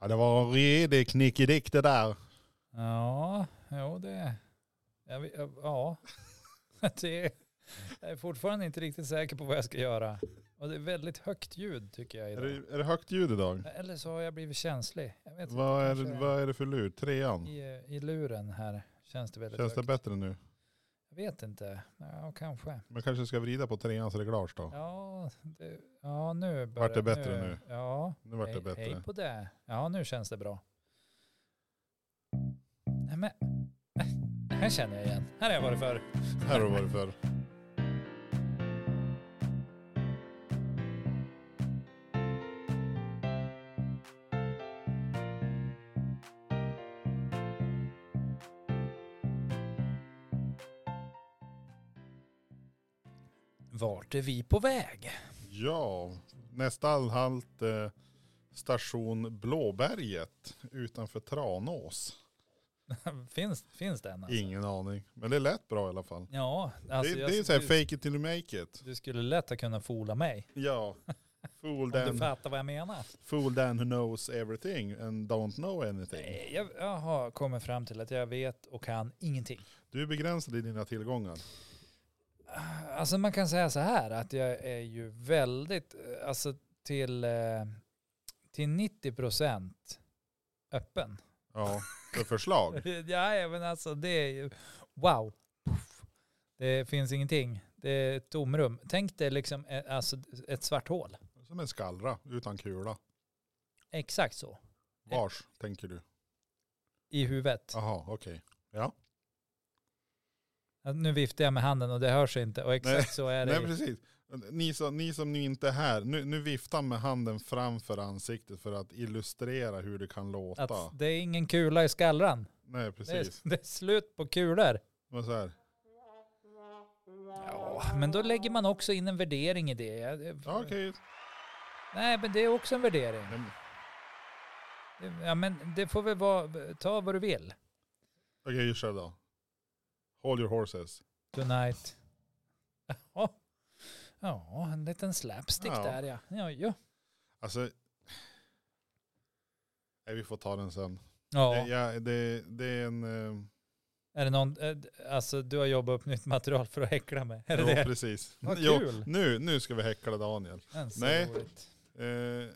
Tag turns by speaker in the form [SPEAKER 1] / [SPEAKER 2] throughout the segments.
[SPEAKER 1] Ja, det var en redig knickedick det där.
[SPEAKER 2] Ja, jo det... Jag, vet- ja, det, jag är fortfarande inte riktigt säker på vad jag ska göra. Och det är väldigt högt ljud tycker jag
[SPEAKER 1] Är
[SPEAKER 2] idag.
[SPEAKER 1] det, är det högt ljud idag?
[SPEAKER 2] Eller så har jag blivit känslig. Jag vet
[SPEAKER 1] Vad är,
[SPEAKER 2] inte,
[SPEAKER 1] det-
[SPEAKER 2] kanske
[SPEAKER 1] vad är det för lur? Trean?
[SPEAKER 2] I, I luren här känns det väldigt
[SPEAKER 1] Känns det
[SPEAKER 2] högt.
[SPEAKER 1] bättre nu?
[SPEAKER 2] Jag vet inte. Ja, kanske.
[SPEAKER 1] Man kanske ska vrida på treans reglage då.
[SPEAKER 2] Ja, det, ja nu börjar
[SPEAKER 1] Vart det bättre nu?
[SPEAKER 2] Ja,
[SPEAKER 1] Nu vart det
[SPEAKER 2] hej, hej
[SPEAKER 1] bättre.
[SPEAKER 2] på det. Ja, nu känns det bra. Nej men, det här känner jag igen. Här har jag varit förr.
[SPEAKER 1] Här har det varit förr.
[SPEAKER 2] Vart är vi på väg?
[SPEAKER 1] Ja, nästa anhalt eh, station Blåberget utanför Tranås.
[SPEAKER 2] finns, finns den alltså?
[SPEAKER 1] Ingen aning, men det lät bra i alla fall.
[SPEAKER 2] Ja, alltså
[SPEAKER 1] det,
[SPEAKER 2] jag,
[SPEAKER 1] det är så här
[SPEAKER 2] du,
[SPEAKER 1] fake it till you make it.
[SPEAKER 2] du skulle lätt ha kunnat fola mig.
[SPEAKER 1] Ja. Fool
[SPEAKER 2] Om du
[SPEAKER 1] den,
[SPEAKER 2] fattar vad jag menar.
[SPEAKER 1] fool den who knows everything and don't know anything.
[SPEAKER 2] Nej, Jag, jag har kommit fram till att jag vet och kan ingenting.
[SPEAKER 1] Du är begränsad i dina tillgångar.
[SPEAKER 2] Alltså man kan säga så här att jag är ju väldigt, eh, alltså till, eh, till 90 procent öppen.
[SPEAKER 1] Ja, för förslag.
[SPEAKER 2] Ja, ja, men alltså det är ju, wow. Puff. Det finns ingenting. Det är ett tomrum. Tänk dig liksom eh, alltså, ett svart hål.
[SPEAKER 1] Som en skallra utan kula.
[SPEAKER 2] Exakt så.
[SPEAKER 1] Vars tänker du?
[SPEAKER 2] I huvudet.
[SPEAKER 1] Jaha, okej.
[SPEAKER 2] Ja, Nu viftar jag med handen och det hörs inte. Och exakt
[SPEAKER 1] Nej,
[SPEAKER 2] så är det
[SPEAKER 1] Nej
[SPEAKER 2] ju.
[SPEAKER 1] precis. Ni som, ni som nu inte är här, nu, nu viftar med handen framför ansiktet för att illustrera hur det kan låta.
[SPEAKER 2] Att det är ingen kula i skallran.
[SPEAKER 1] Nej
[SPEAKER 2] Det är,
[SPEAKER 1] precis.
[SPEAKER 2] det är slut på kulor.
[SPEAKER 1] Men så här,
[SPEAKER 2] Ja, men då lägger man också in en värdering i det. Jag-
[SPEAKER 1] ja, okej.
[SPEAKER 2] Nej, men det är också en värdering.
[SPEAKER 1] Nej, men-
[SPEAKER 2] Ja, men det får väl vara, ta vad du vill.
[SPEAKER 1] Okej, kör då. Hold your horses.
[SPEAKER 2] Tonight. Jaha. Ja, en liten slapstick
[SPEAKER 1] Ja.
[SPEAKER 2] där ja. Ja, ja.
[SPEAKER 1] Alltså, nej, vi får ta den sen.
[SPEAKER 2] ja.
[SPEAKER 1] Det, ja, det, det är en... eh,
[SPEAKER 2] Är det någon, eh, alltså du har jobbat upp nytt material för att häckla med. Är det
[SPEAKER 1] jo,
[SPEAKER 2] det?
[SPEAKER 1] precis.
[SPEAKER 2] Vad
[SPEAKER 1] Jo,
[SPEAKER 2] kul.
[SPEAKER 1] nu, nu ska vi häckla Daniel.
[SPEAKER 2] Men så
[SPEAKER 1] Nej.
[SPEAKER 2] roligt.
[SPEAKER 1] Eh,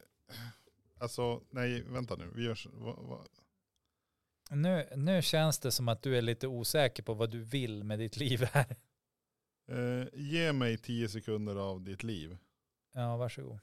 [SPEAKER 1] alltså, nej, vänta nu. Vi gör så, va, va?
[SPEAKER 2] Nu, nu känns det som att du är lite osäker på vad du vill med ditt liv här.
[SPEAKER 1] Eh, ge mig tio sekunder av ditt liv.
[SPEAKER 2] Ja, varsågod.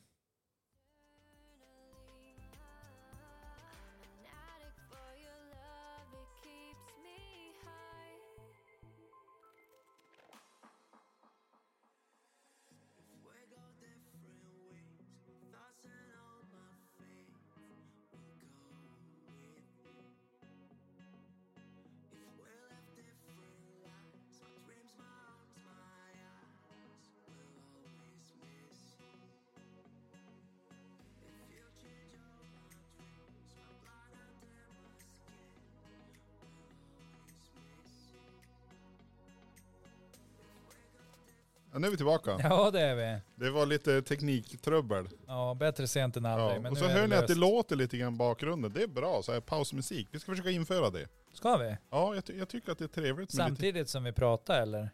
[SPEAKER 1] Ja, nu är vi tillbaka.
[SPEAKER 2] Ja, det är vi.
[SPEAKER 1] Det var lite tekniktrubbel.
[SPEAKER 2] Ja, bättre sent än aldrig.
[SPEAKER 1] Ja.
[SPEAKER 2] men
[SPEAKER 1] Och
[SPEAKER 2] nu
[SPEAKER 1] så
[SPEAKER 2] är
[SPEAKER 1] hör ni att det
[SPEAKER 2] löst.
[SPEAKER 1] låter lite grann i bakgrunden. Det är bra, så här pausmusik. Vi ska försöka införa det.
[SPEAKER 2] Ska vi?
[SPEAKER 1] Ja, jag, ty- jag tycker att det är trevligt. Med lite...
[SPEAKER 2] Samtidigt som vi pratar eller?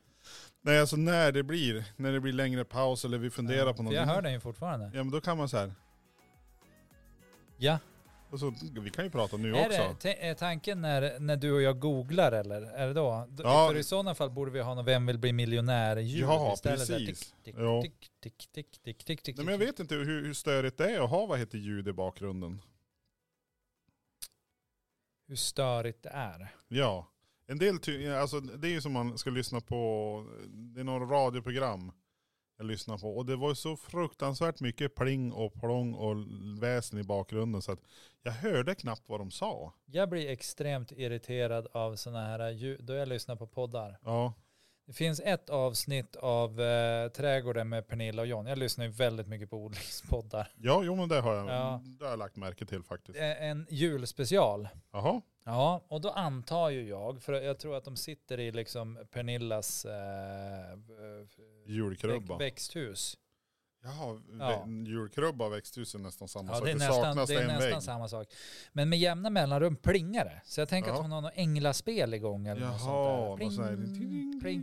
[SPEAKER 1] Nej, alltså när det blir, när det blir längre paus eller vi funderar
[SPEAKER 2] Ja,
[SPEAKER 1] på
[SPEAKER 2] för
[SPEAKER 1] någonting.
[SPEAKER 2] Jag hör den ju fortfarande.
[SPEAKER 1] Ja, men då kan man så här.
[SPEAKER 2] Ja.
[SPEAKER 1] Och så, vi kan ju prata nu
[SPEAKER 2] Är,
[SPEAKER 1] också.
[SPEAKER 2] det, ta- är tanken när, när du och jag googlar eller? Är det då? D-
[SPEAKER 1] Ja.
[SPEAKER 2] För i sådana fall borde vi ha någon Vem vill bli miljonär ljud
[SPEAKER 1] Ja,
[SPEAKER 2] istället. där.
[SPEAKER 1] precis.
[SPEAKER 2] Tick, tick,
[SPEAKER 1] Ja.
[SPEAKER 2] tick, tick, tick, tick, tick, tick,
[SPEAKER 1] Nej, men jag vet inte hur, hur störigt det är att ha vad heter ljud i bakgrunden.
[SPEAKER 2] Hur störigt det är.
[SPEAKER 1] Ja. En del ty- alltså, det är ju som man ska lyssna på, det är några radioprogram jag lyssnar på. Och det var ju så fruktansvärt mycket pling och plong och väsen i bakgrunden så att jag hörde knappt vad de sa.
[SPEAKER 2] Jag blir extremt irriterad av sådana här ljud då jag lyssnar på poddar.
[SPEAKER 1] Ja,
[SPEAKER 2] Det finns ett avsnitt av eh, Trädgården med Pernilla och John. Jag lyssnar ju väldigt mycket på odlingspoddar.
[SPEAKER 1] ja jo men det har jag,
[SPEAKER 2] Ja.
[SPEAKER 1] det har jag lagt märke till faktiskt.
[SPEAKER 2] Det är Eh, En julspecial.
[SPEAKER 1] Jaha,
[SPEAKER 2] Ja, och då antar ju jag, för jag tror att de sitter i liksom Pernillas eh, eh,
[SPEAKER 1] julkrubba.
[SPEAKER 2] växthus.
[SPEAKER 1] Jaha,
[SPEAKER 2] Ja.
[SPEAKER 1] ja. julkrubba och växthus är nästan samma
[SPEAKER 2] Ja,
[SPEAKER 1] sak.
[SPEAKER 2] det är
[SPEAKER 1] det
[SPEAKER 2] nästan,
[SPEAKER 1] saknas
[SPEAKER 2] det är
[SPEAKER 1] en vägg.
[SPEAKER 2] nästan samma sak. Men med jämna mellanrum plingar det. Så jag tänker att
[SPEAKER 1] Ja.
[SPEAKER 2] hon har något änglaspel igång eller något
[SPEAKER 1] Jaha,
[SPEAKER 2] sånt där.
[SPEAKER 1] något sånt här.
[SPEAKER 2] Pling, pling.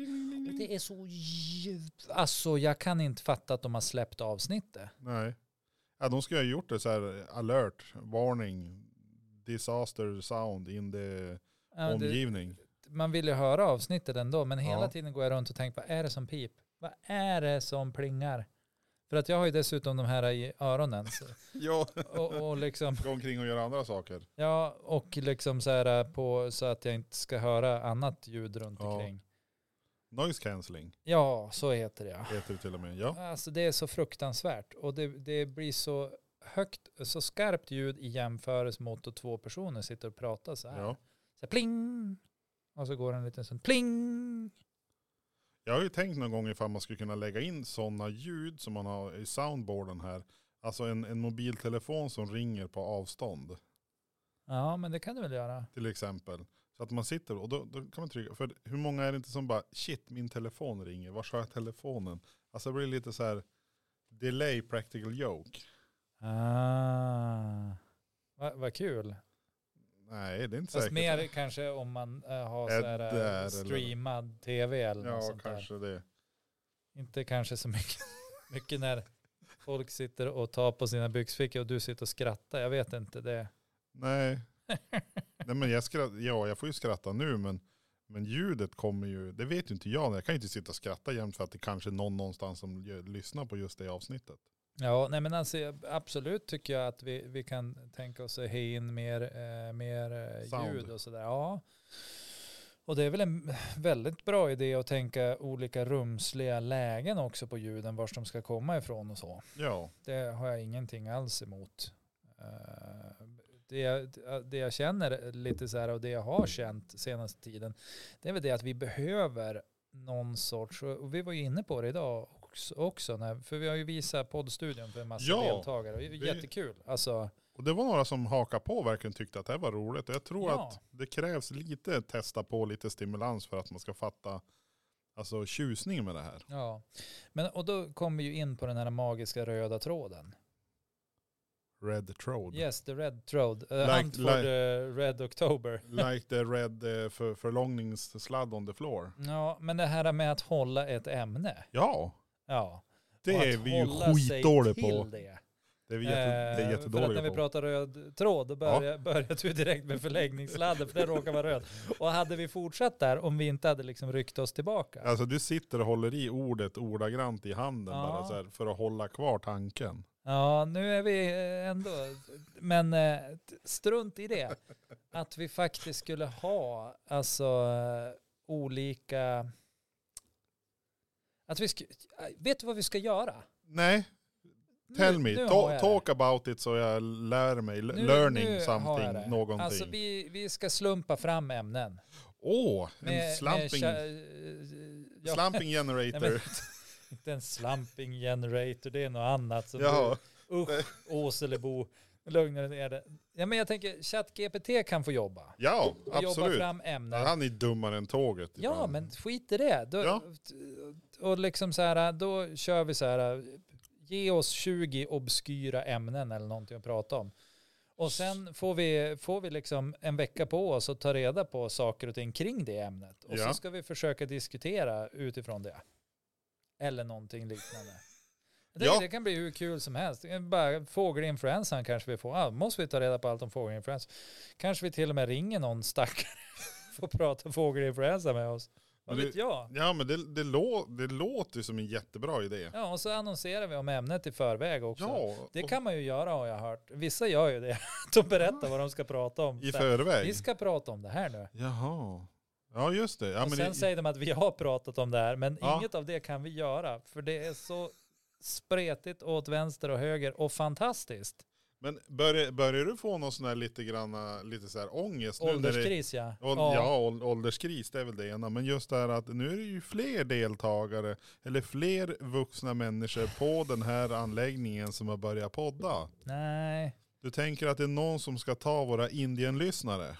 [SPEAKER 2] Och Det är så ljud. Alltså jag kan inte fatta att de har släppt avsnittet.
[SPEAKER 1] Nej. Ja, de skulle ha gjort det så här alert, warning, disaster sound in the
[SPEAKER 2] Ja, det-
[SPEAKER 1] omgivning.
[SPEAKER 2] Man vill ju höra avsnittet ändå, men hela
[SPEAKER 1] Ja.
[SPEAKER 2] tiden går jag runt och tänker vad är det som pip? Vad är det som plingar? För att jag har ju dessutom de här i öronen. Så,
[SPEAKER 1] Ja,
[SPEAKER 2] och, och liksom,
[SPEAKER 1] gå omkring och göra andra saker.
[SPEAKER 2] ja, och liksom så här eh, på, så att jag inte ska höra annat ljud runt
[SPEAKER 1] Ja.
[SPEAKER 2] omkring.
[SPEAKER 1] Noise cancelling
[SPEAKER 2] Ja, så heter det ja.
[SPEAKER 1] heter det till och med. Ja,
[SPEAKER 2] Alltså det är så fruktansvärt och det, det blir så högt, så skarpt ljud i jämförelse mot att två personer sitter och pratar så här.
[SPEAKER 1] ja.
[SPEAKER 2] Så här pling! Och så går det en liten stund, pling!
[SPEAKER 1] Jag har ju tänkt någon gång ifall man skulle kunna lägga in sådana ljud som man har i soundboarden här. Alltså en, en mobiltelefon som ringer på avstånd
[SPEAKER 2] Ja, men det kan du väl göra?
[SPEAKER 1] till exempel. Så att man sitter och då, då kan man trycka. För hur många är det inte som bara shit min telefon ringer, var har jag telefonen? Alltså det blir lite så här delay practical joke.
[SPEAKER 2] Ah. Vad va kul.
[SPEAKER 1] Nej det är inte
[SPEAKER 2] Fast
[SPEAKER 1] säkert.
[SPEAKER 2] mer kanske om man eh, har så
[SPEAKER 1] Är
[SPEAKER 2] här,
[SPEAKER 1] där
[SPEAKER 2] eh,
[SPEAKER 1] eller-
[SPEAKER 2] streamad tv eller något
[SPEAKER 1] Ja
[SPEAKER 2] sånt där.
[SPEAKER 1] kanske det.
[SPEAKER 2] Inte kanske så mycket, mycket när folk sitter och tar på sina byxfickor och du sitter och skrattar. Jag vet inte det.
[SPEAKER 1] Nej. Nej men jag skratt, ja jag får ju skratta nu men, men ljudet kommer ju, det vet ju inte jag. Jag kan ju inte sitta och skratta jämt för att det kanske är någon någonstans som gör- lyssnar på just det avsnittet.
[SPEAKER 2] Ja, nej men alltså jag- absolut tycker jag att vi, vi kan tänka oss att ha in mer, eh, mer eh,
[SPEAKER 1] Sound.
[SPEAKER 2] ljud och sådär. Ja. Och det är väl en väldigt bra idé att tänka olika rumsliga lägen också på ljuden, vars de ska komma ifrån och så.
[SPEAKER 1] Ja,
[SPEAKER 2] Det har jag ingenting alls emot. Eh, Det jag, det jag känner lite så här och det jag har känt senaste tiden, det är väl det att vi behöver någon sorts, och vi var ju inne på det idag också, också när, för vi har ju visat poddstudion för en massa
[SPEAKER 1] Ja,
[SPEAKER 2] deltagare. Och det är
[SPEAKER 1] vi-
[SPEAKER 2] Jättekul. Alltså,
[SPEAKER 1] och det var några som hakade på och verkligen tyckte att det här var roligt. Och jag tror
[SPEAKER 2] Ja.
[SPEAKER 1] att det krävs lite testa på, lite stimulans för att man ska fatta alltså, tjusningen med det här.
[SPEAKER 2] ja. Men, och då kommer vi ju in på den här magiska röda tråden.
[SPEAKER 1] Red Trode.
[SPEAKER 2] Yes, the red tråd. Uh,
[SPEAKER 1] Like-
[SPEAKER 2] hunt for
[SPEAKER 1] like-
[SPEAKER 2] the red october.
[SPEAKER 1] Like the red eh, för, förlångningssladd on the floor.
[SPEAKER 2] Ja, men det här med att hålla ett ämne.
[SPEAKER 1] Ja,
[SPEAKER 2] Ja.
[SPEAKER 1] det
[SPEAKER 2] Och att
[SPEAKER 1] är vi ju
[SPEAKER 2] hålla sig
[SPEAKER 1] skitdåliga på.
[SPEAKER 2] till Det.
[SPEAKER 1] Det är vi jätte, det
[SPEAKER 2] Eh,
[SPEAKER 1] är
[SPEAKER 2] för att när
[SPEAKER 1] jättedåliga
[SPEAKER 2] vi
[SPEAKER 1] på.
[SPEAKER 2] pratar röd tråd, då börjar, börjar du direkt med förlängningssladden, för den råkar vara röd. Och hade vi fortsatt där, om vi inte hade liksom ryckt oss tillbaka.
[SPEAKER 1] Alltså du sitter och håller i ordet ordagrant i handen
[SPEAKER 2] Ja.
[SPEAKER 1] bara så här, för att hålla kvar tanken.
[SPEAKER 2] Ja, nu är vi eh, ändå, men eh, t- strunt i det. Att vi faktiskt skulle ha, alltså, eh, olika... Att vi sku... eh, Vet du vad vi ska göra?
[SPEAKER 1] Nej, tell
[SPEAKER 2] Nu-
[SPEAKER 1] me.
[SPEAKER 2] nu har
[SPEAKER 1] Ta,
[SPEAKER 2] jag det.
[SPEAKER 1] talk about it så jag lär mig. L-
[SPEAKER 2] Nu-
[SPEAKER 1] learning
[SPEAKER 2] nu har jag
[SPEAKER 1] something,
[SPEAKER 2] det.
[SPEAKER 1] någonting.
[SPEAKER 2] Alltså vi, vi ska slumpa fram ämnen.
[SPEAKER 1] Åh, en
[SPEAKER 2] Med- eh,
[SPEAKER 1] slumping,
[SPEAKER 2] med tja- eh, ja,
[SPEAKER 1] slumping generator.
[SPEAKER 2] Nej, men- alltså, inte en slumping generator, det är något annat. Som
[SPEAKER 1] Jaha.
[SPEAKER 2] du, usch, Åselebo, lugna ner dig. Ja, men jag tänker, ChatGPT kan få jobba.
[SPEAKER 1] Ja,
[SPEAKER 2] Och jobba
[SPEAKER 1] absolut.
[SPEAKER 2] fram ämnen.
[SPEAKER 1] Han är dummare än tåget.
[SPEAKER 2] Ja,
[SPEAKER 1] ibland.
[SPEAKER 2] men skit i det. Då,
[SPEAKER 1] Ja.
[SPEAKER 2] Och liksom så här, då kör vi så här, ge oss 20 obskyra ämnen eller någonting att prata om. Och sen får vi, får vi liksom en vecka på oss att ta reda på saker och ting kring det ämnet. Och så
[SPEAKER 1] Ja.
[SPEAKER 2] ska vi försöka diskutera utifrån det. Eller någonting liknande. Jag tänker,
[SPEAKER 1] Ja.
[SPEAKER 2] Det kan bli hur kul som helst. Det är Bara fågelinfluensan kanske vi får. Ah, måste vi ta reda på allt om fågelinfluensa? Kanske vi till och med ringer någon stackare för att prata fågelinfluensa med oss. Vad
[SPEAKER 1] Men det-
[SPEAKER 2] vet jag?
[SPEAKER 1] Ja, men det, det, lå, det låter ju som en jättebra idé.
[SPEAKER 2] Ja, och så annonserar vi om ämnet i förväg också.
[SPEAKER 1] Ja,
[SPEAKER 2] Det
[SPEAKER 1] och
[SPEAKER 2] kan man ju göra har jag hört. Vissa gör ju det. De berättar vad de ska prata om.
[SPEAKER 1] i
[SPEAKER 2] Så här,
[SPEAKER 1] förväg.
[SPEAKER 2] Vi ska prata om det här nu.
[SPEAKER 1] Jaha. Ja, just det. Ja,
[SPEAKER 2] och
[SPEAKER 1] men
[SPEAKER 2] sen
[SPEAKER 1] i,
[SPEAKER 2] säger de att vi har pratat om det här, men
[SPEAKER 1] Ja.
[SPEAKER 2] inget av det kan vi göra. För det är så spretigt åt vänster och höger och fantastiskt.
[SPEAKER 1] Men börjar, börjar du få någon sån här lite granna, lite så här ångest nu? när det-
[SPEAKER 2] Ålderskris ja.
[SPEAKER 1] Ål- ja, ål- ålderskris det är väl det ena. Men just det här att nu är det ju fler deltagare, eller fler vuxna människor på den här anläggningen som har börjat podda.
[SPEAKER 2] Nej,
[SPEAKER 1] Du tänker att det är någon som ska ta våra Indien-lyssnare?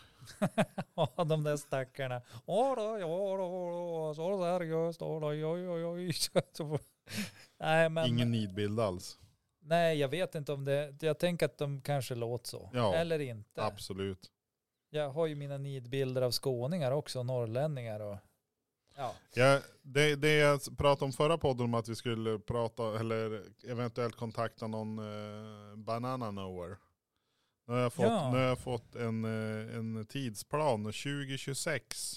[SPEAKER 2] ja, de där stackarna. Ja då, ja då, ja då, så här just, ja då, oj, oj, oj. Så- Nej, men,
[SPEAKER 1] Ingen nidbild alls.
[SPEAKER 2] nej, jag vet inte om det. Jag tänker att de kanske låter så.
[SPEAKER 1] Ja,
[SPEAKER 2] Eller inte.
[SPEAKER 1] Absolut.
[SPEAKER 2] Jag har ju mina nidbilder av skåningar också, och norrlänningar och ja.
[SPEAKER 1] Ja, det, det jag pratade om förra podden om att vi skulle prata eller eventuellt kontakta någon eh, banana knower. Nu har jag fått,
[SPEAKER 2] Ja.
[SPEAKER 1] nu har jag fått en, eh, en tidsplan. 2026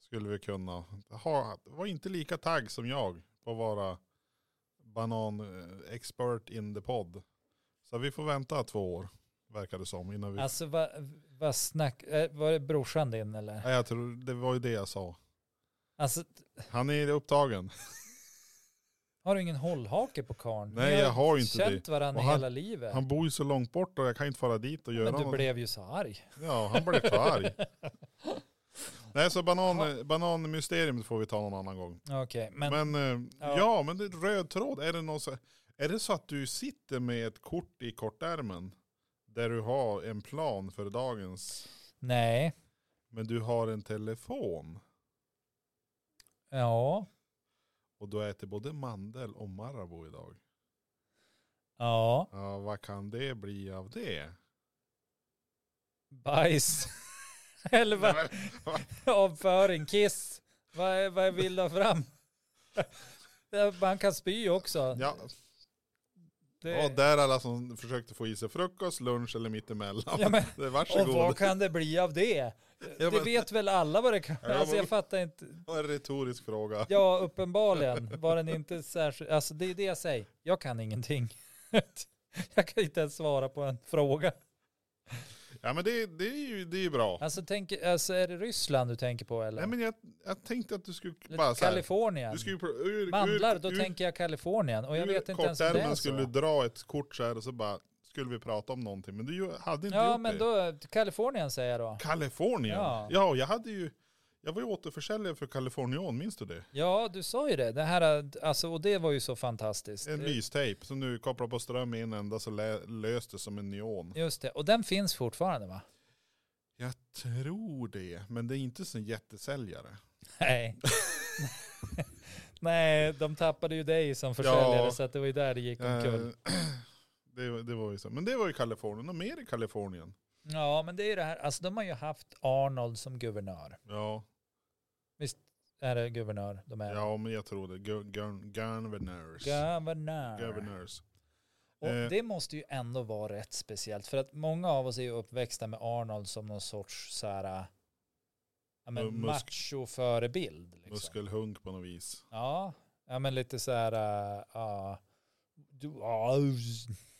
[SPEAKER 1] skulle vi kunna. Ha, var inte lika tagg som jag på att vara bananexpert in the pod. Så vi får vänta två år verkar det som. Innan vi...
[SPEAKER 2] Alltså vad vad snack, eh, var det brorsan din eller?
[SPEAKER 1] Nej, jag tror, det var ju det jag sa.
[SPEAKER 2] Alltså
[SPEAKER 1] Han är upptagen.
[SPEAKER 2] har du ingen hållhake på karln?
[SPEAKER 1] Nej, jag har ju inte det.
[SPEAKER 2] känt varandra
[SPEAKER 1] Och han-
[SPEAKER 2] hela livet.
[SPEAKER 1] Han bor ju så långt bort och jag kan inte fara dit och göra
[SPEAKER 2] men du
[SPEAKER 1] något.
[SPEAKER 2] blev ju så arg.
[SPEAKER 1] Ja, han blev för arg. Nej, så banan, bananmysteriet får vi ta någon annan gång.
[SPEAKER 2] Okej, men,
[SPEAKER 1] Men, eh, ja.
[SPEAKER 2] ja.
[SPEAKER 1] men det är röd tråd. Är det, någon så, är det så att du sitter med ett kort i kortärmen där du har en plan för dagens,
[SPEAKER 2] nej.
[SPEAKER 1] men du har en telefon
[SPEAKER 2] Ja,
[SPEAKER 1] och du äter både mandel och Marabou idag?
[SPEAKER 2] ja,
[SPEAKER 1] Ja, vad kan det bli av det?
[SPEAKER 2] bajs. eller vad, avföring, kiss. Vad, är- vad vill du ha fram? Man kan spy också.
[SPEAKER 1] Ja,
[SPEAKER 2] Det-
[SPEAKER 1] och där alla som försökte få i sig frukost, lunch eller mittemellan.
[SPEAKER 2] Ja, men-
[SPEAKER 1] Det är
[SPEAKER 2] Och
[SPEAKER 1] varsågod.
[SPEAKER 2] vad kan det bli av det?
[SPEAKER 1] Ja,
[SPEAKER 2] Det
[SPEAKER 1] men-
[SPEAKER 2] vet väl alla vad det kan
[SPEAKER 1] Ja, det var
[SPEAKER 2] Alltså
[SPEAKER 1] väl-
[SPEAKER 2] jag fattar inte.
[SPEAKER 1] Det var en retorisk fråga.
[SPEAKER 2] Ja, uppenbarligen var den inte särskilt. Alltså det är det jag säger. Jag kan ingenting. Jag kan inte ens svara på en fråga.
[SPEAKER 1] Ja men det, det är ju det är ju bra.
[SPEAKER 2] Alltså, tänk, alltså är det Ryssland du tänker på eller?
[SPEAKER 1] Nej men jag, jag tänkte att du skulle
[SPEAKER 2] Eller
[SPEAKER 1] bara så här,
[SPEAKER 2] Kalifornien.
[SPEAKER 1] Du skulle ju pro- ur,
[SPEAKER 2] Mandlar, då tänker jag Kalifornien. Och jag vet inte ens om det är
[SPEAKER 1] kortärmen skulle du
[SPEAKER 2] så.
[SPEAKER 1] dra ett kort så här och så bara skulle vi prata om någonting. Men du ju- hade inte
[SPEAKER 2] Ja,
[SPEAKER 1] gjort
[SPEAKER 2] men
[SPEAKER 1] det.
[SPEAKER 2] då Kalifornien säger jag då.
[SPEAKER 1] Kalifornien. Ja.
[SPEAKER 2] Ja.
[SPEAKER 1] jag hade ju, jag var ju återförsäljare för Kalifornion, minns du det?
[SPEAKER 2] Ja, du sa ju det. Det här, alltså, och det var ju så fantastiskt.
[SPEAKER 1] En lystejp som du kopplar på ström i en enda så lä, löste som en neon.
[SPEAKER 2] Just det. Och den finns fortfarande va?
[SPEAKER 1] Jag tror det, men det är inte så jättesäljare.
[SPEAKER 2] Nej. Nej, de tappade ju dig som försäljare
[SPEAKER 1] Ja.
[SPEAKER 2] så att det var ju där det gick omkull.
[SPEAKER 1] Eh, det, det var ju så. Men det var ju Kalifornien och mer i Kalifornien.
[SPEAKER 2] Ja, men det är ju det här. Alltså de har ju haft Arnold som guvernör.
[SPEAKER 1] Ja.
[SPEAKER 2] Är det guvernör de är?
[SPEAKER 1] Ja, men jag tror det. Gu- gun- Governors.
[SPEAKER 2] Guvernör.
[SPEAKER 1] Governors.
[SPEAKER 2] Och
[SPEAKER 1] Eh.
[SPEAKER 2] det måste ju ändå vara rätt speciellt. För att många av oss är ju uppväxta med Arnold som någon sorts så här, eh, ja,
[SPEAKER 1] Eh,
[SPEAKER 2] men
[SPEAKER 1] musk-
[SPEAKER 2] macho-förebild. Liksom.
[SPEAKER 1] Muskelhunk på något vis.
[SPEAKER 2] Ja. ja, men lite så här, äh, ja. Du, ja, you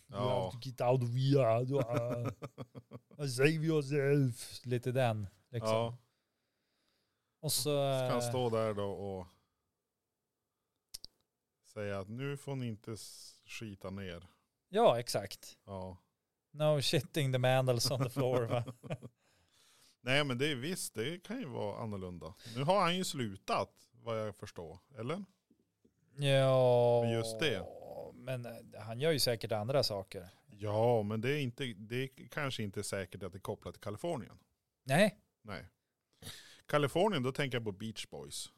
[SPEAKER 1] Ja.
[SPEAKER 2] have to get out of here. Du, ja. save yourself. Lite den. Liksom.
[SPEAKER 1] Ja,
[SPEAKER 2] Och så...
[SPEAKER 1] så kan han
[SPEAKER 2] äh,
[SPEAKER 1] stå där då och säga att nu får ni inte s- skita ner.
[SPEAKER 2] Ja, exakt.
[SPEAKER 1] Ja.
[SPEAKER 2] No shitting the mandals on the floor. Va?
[SPEAKER 1] Nej men det är visst, det kan ju vara annorlunda. Nu har han ju slutat vad jag förstår, eller?
[SPEAKER 2] Ja.
[SPEAKER 1] Men just det.
[SPEAKER 2] Men eh, han gör ju säkert andra saker.
[SPEAKER 1] Ja, men det är, inte, det är kanske inte säkert att det är kopplat till Kalifornien.
[SPEAKER 2] Nej.
[SPEAKER 1] Nej. Kalifornien, då tänker jag på Beach Boys.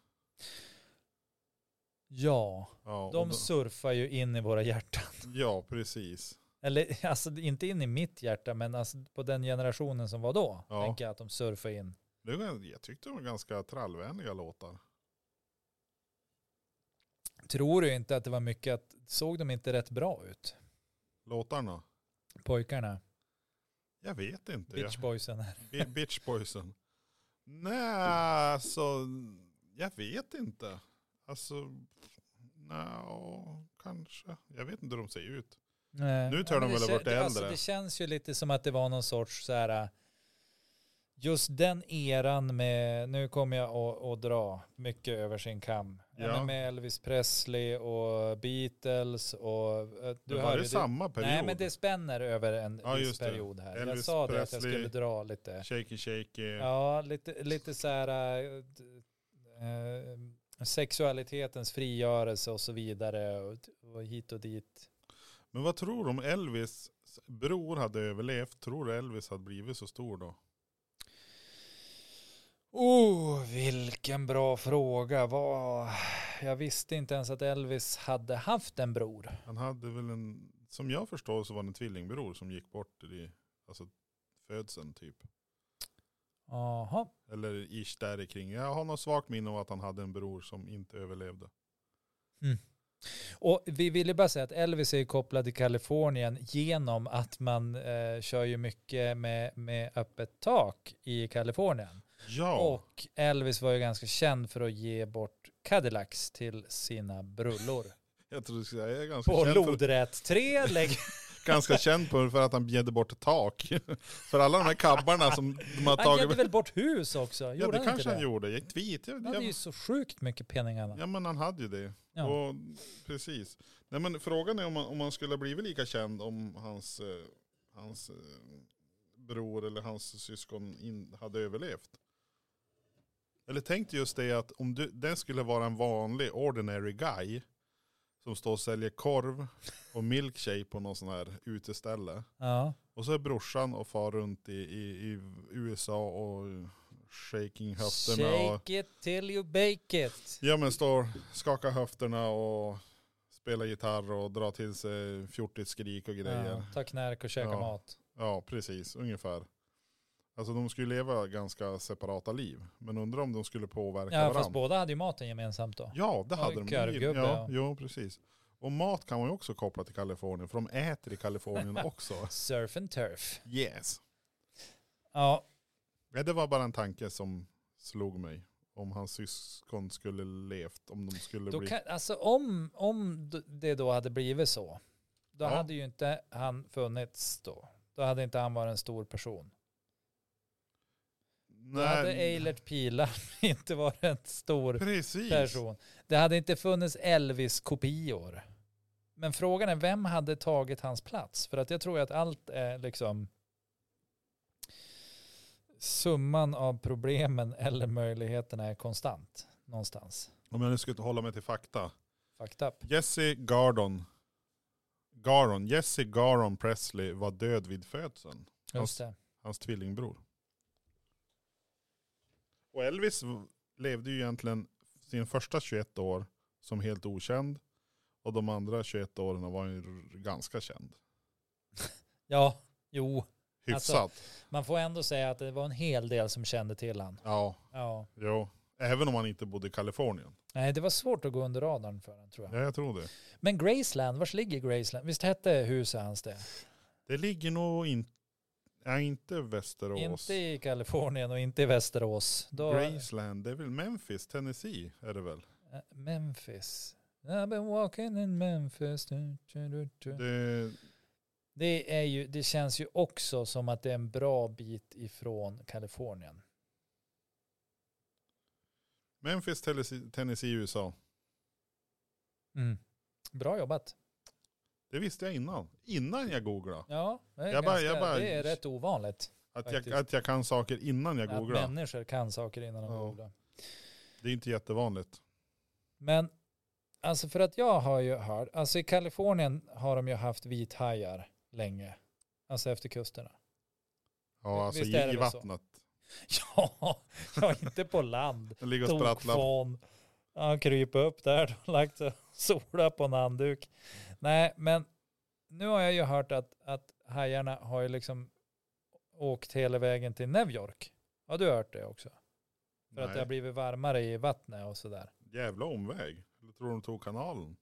[SPEAKER 2] Ja,
[SPEAKER 1] Ja, och
[SPEAKER 2] de
[SPEAKER 1] då-
[SPEAKER 2] surfar ju in i våra hjärtan.
[SPEAKER 1] ja precis.
[SPEAKER 2] Eller alltså inte in i mitt hjärta, men alltså, på den generationen som var då.
[SPEAKER 1] Ja.
[SPEAKER 2] Tänker jag att de surfar in.
[SPEAKER 1] Det var, jag tyckte de var ganska trallvänliga låtar.
[SPEAKER 2] Tror du inte att det var mycket att, såg de inte rätt bra ut?
[SPEAKER 1] Låtarna?
[SPEAKER 2] Pojkarna,
[SPEAKER 1] Jag vet inte.
[SPEAKER 2] Beach Boysen.
[SPEAKER 1] Bi- Bitch boysen. Nej, alltså jag vet inte. Alltså, nja, kanske. Jag vet inte hur de ser ut.
[SPEAKER 2] Nej.
[SPEAKER 1] Nu tror jag
[SPEAKER 2] men
[SPEAKER 1] de
[SPEAKER 2] det
[SPEAKER 1] väl har varit
[SPEAKER 2] kän- det- Alltså,
[SPEAKER 1] äldre.
[SPEAKER 2] det känns ju lite som att det var någon sorts så här, just den eran med, nu kommer jag att, att dra mycket över sin kam. Ja.
[SPEAKER 1] Ja.
[SPEAKER 2] men Med Elvis Presley och Beatles och... eh,
[SPEAKER 1] Du
[SPEAKER 2] hör
[SPEAKER 1] var
[SPEAKER 2] ju,
[SPEAKER 1] det samma period?
[SPEAKER 2] Nej men det spänner över en
[SPEAKER 1] Ja,
[SPEAKER 2] viss
[SPEAKER 1] just det.
[SPEAKER 2] period här. jag
[SPEAKER 1] Elvis
[SPEAKER 2] sa det att jag
[SPEAKER 1] Presley.
[SPEAKER 2] skulle dra lite.
[SPEAKER 1] Shaky shaky.
[SPEAKER 2] Ja, lite, lite så här eh, d- eh, sexualitetens frigörelse och så vidare och, och hit och dit.
[SPEAKER 1] Men vad tror du om Elvis bror hade överlevt? Tror du Elvis hade blivit så stor då?
[SPEAKER 2] Oh, vilken bra fråga. Vad... Jag visste inte ens att Elvis hade haft en bror.
[SPEAKER 1] Han hade väl en, som jag förstår så var det en tvillingbror som gick bort i alltså, födseln typ.
[SPEAKER 2] Jaha.
[SPEAKER 1] Eller ish där kring. Jag har något svagt minne av att han hade en bror som inte överlevde.
[SPEAKER 2] Och vi ville bara säga att Elvis är ju kopplad till Kalifornien genom att man eh, kör ju mycket med, med öppet tak i Kalifornien.
[SPEAKER 1] Ja,
[SPEAKER 2] Och Elvis var ju ganska känd för att ge bort Cadillacs till sina brullor.
[SPEAKER 1] jag tror du skulle säga jag är ganska
[SPEAKER 2] På
[SPEAKER 1] känd, för,
[SPEAKER 2] lodrätt tre lägg.
[SPEAKER 1] ganska känd på- för att han bjöd bort tak. för alla de här kabbarna som de har
[SPEAKER 2] Han gav
[SPEAKER 1] tagit.
[SPEAKER 2] väl bort hus också?
[SPEAKER 1] Ja
[SPEAKER 2] Gjorde
[SPEAKER 1] det
[SPEAKER 2] han
[SPEAKER 1] kanske
[SPEAKER 2] inte det?
[SPEAKER 1] han gjorde. Jag tvit. Jag,
[SPEAKER 2] Han hade ju
[SPEAKER 1] jag,
[SPEAKER 2] så sjukt mycket penningarna.
[SPEAKER 1] ja men han hade ju det.
[SPEAKER 2] Ja.
[SPEAKER 1] Och, precis. Nej, men frågan är om han, om han skulle ha blivit lika känd om hans, eh, hans eh, bror eller hans syskon in, hade överlevt. Eller tänk just det att om du, den skulle vara en vanlig ordinary guy som står och säljer korv och milkshake på någon sån här uteställe.
[SPEAKER 2] Ja.
[SPEAKER 1] Och så är brorsan och far runt i, i, i USA och shaking höfterna. Och,
[SPEAKER 2] Shake it till you bake it.
[SPEAKER 1] Ja men står, skakar höfterna och spelar gitarr och drar till sig fjortigt skrik och
[SPEAKER 2] Ja,
[SPEAKER 1] grejer. Ja.
[SPEAKER 2] ta knark och käka
[SPEAKER 1] Ja.
[SPEAKER 2] mat.
[SPEAKER 1] precis, ungefär. Alltså de skulle leva ganska separata liv. Men undrar om de skulle påverka
[SPEAKER 2] Ja, fast
[SPEAKER 1] varandra.
[SPEAKER 2] båda hade ju maten gemensamt då.
[SPEAKER 1] Ja, det
[SPEAKER 2] Ja,
[SPEAKER 1] hade de.
[SPEAKER 2] körvgubbe, ja.
[SPEAKER 1] ja. Jo, precis. Och mat kan man ju också koppla till Kalifornien, för de äter i Kalifornien också.
[SPEAKER 2] Surf and turf.
[SPEAKER 1] Yes.
[SPEAKER 2] Ja,
[SPEAKER 1] Ja, det var bara en tanke som slog mig. Om hans syskon skulle levt, om de skulle
[SPEAKER 2] då
[SPEAKER 1] bli...
[SPEAKER 2] kan, alltså om, om d- det då hade blivit så, då
[SPEAKER 1] Ja.
[SPEAKER 2] hade ju inte han funnits då. Då hade inte han varit en stor person. Då hade Eilert Pilar inte varit en stor
[SPEAKER 1] precis.
[SPEAKER 2] person. Det hade inte funnits Elvis-kopior. Men frågan är vem hade tagit hans plats? För att jag tror ju att allt är liksom summan av problemen eller möjligheterna är konstant någonstans.
[SPEAKER 1] Om jag nu skulle hålla mig till fakta.
[SPEAKER 2] Fucked up.
[SPEAKER 1] Jesse Gardon. Garon. Jesse Garon Presley var död vid födseln.
[SPEAKER 2] Just det.
[SPEAKER 1] Hans tvillingbror. Och Elvis v- levde ju egentligen sin första 21 år som helt okänd. Och de andra 21 åren var han ju r- ganska känd.
[SPEAKER 2] Ja, jo. Alltså.
[SPEAKER 1] Hyfsat.
[SPEAKER 2] Man får ändå säga att det var en hel del som kände till han.
[SPEAKER 1] Ja,
[SPEAKER 2] Ja.
[SPEAKER 1] jo. Även om han inte bodde i Kalifornien.
[SPEAKER 2] Nej, det var svårt att gå under radarn för honom tror jag.
[SPEAKER 1] Ja, jag tror det.
[SPEAKER 2] Men Graceland, vars ligger Graceland? Visst hette huset hans det?
[SPEAKER 1] Det ligger nog inte... Nej, inte Västerås.
[SPEAKER 2] Inte i Kalifornien och inte i Västerås. Då,
[SPEAKER 1] Graceland, det är väl Memphis, Tennessee är det väl?
[SPEAKER 2] Eh, Memphis. I've been walking in Memphis. Du, du, du, du.
[SPEAKER 1] Det,
[SPEAKER 2] Det, är ju, det känns ju också som att det är en bra bit ifrån Kalifornien.
[SPEAKER 1] Memphis, Tennessee, Tennessee, USA. Mm.
[SPEAKER 2] Bra jobbat.
[SPEAKER 1] Det visste jag innan. Innan jag googlade.
[SPEAKER 2] Ja, det är,
[SPEAKER 1] Jag bara-
[SPEAKER 2] ganska,
[SPEAKER 1] jag bara-
[SPEAKER 2] det är rätt ovanligt.
[SPEAKER 1] Att jag,
[SPEAKER 2] Faktiskt.
[SPEAKER 1] att jag kan saker innan jag
[SPEAKER 2] Att
[SPEAKER 1] googlar.
[SPEAKER 2] människor kan saker innan de
[SPEAKER 1] Ja.
[SPEAKER 2] googlar.
[SPEAKER 1] Det är inte jättevanligt.
[SPEAKER 2] Men alltså för att jag har ju hört, alltså i Kalifornien har de ju haft vithajar länge. Alltså efter kusterna.
[SPEAKER 1] Ja, alltså
[SPEAKER 2] Visst
[SPEAKER 1] i,
[SPEAKER 2] är det
[SPEAKER 1] i
[SPEAKER 2] väl så?
[SPEAKER 1] vattnet.
[SPEAKER 2] Ja, ja inte på land.
[SPEAKER 1] Den ligger och sprattlar.
[SPEAKER 2] Tokfan. Han kryper upp där och lagt sig och sola på en handduk. Nej, men nu har jag ju hört att, att hajarna har ju liksom åkt hela vägen till New York. Har du hört det också? För att det har
[SPEAKER 1] Nej,
[SPEAKER 2] blivit varmare i vattnet och sådär.
[SPEAKER 1] Jävla omväg. Eller tror de tog kanalen?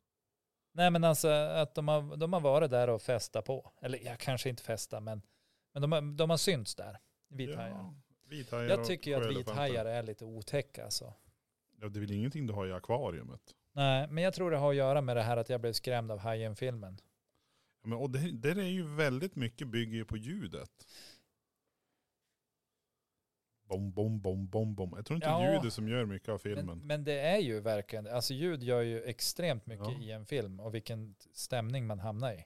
[SPEAKER 2] Nej men alltså att de har, de har varit där och festat på. Eller ja, kanske inte festa men, men de, har, de har synts där. Vithajar.
[SPEAKER 1] Ja, vithajar
[SPEAKER 2] jag
[SPEAKER 1] och
[SPEAKER 2] tycker ju att
[SPEAKER 1] sjöelefanter.
[SPEAKER 2] vithajar är lite otäcka alltså.
[SPEAKER 1] Ja, det är väl ingenting du har i akvariet.
[SPEAKER 2] Nej, men jag tror det har att göra med det här att jag blev skrämd av Hajen-filmen.
[SPEAKER 1] Ja, men, och det, det är ju väldigt mycket bygger ju på ljudet. Bom, bom, bom, bom, bom. Jag tror inte
[SPEAKER 2] Ja.
[SPEAKER 1] ljudet som gör mycket av filmen.
[SPEAKER 2] Men, men det är ju verkligen, alltså ljud gör ju extremt mycket
[SPEAKER 1] Ja.
[SPEAKER 2] i en film och vilken stämning man hamnar i.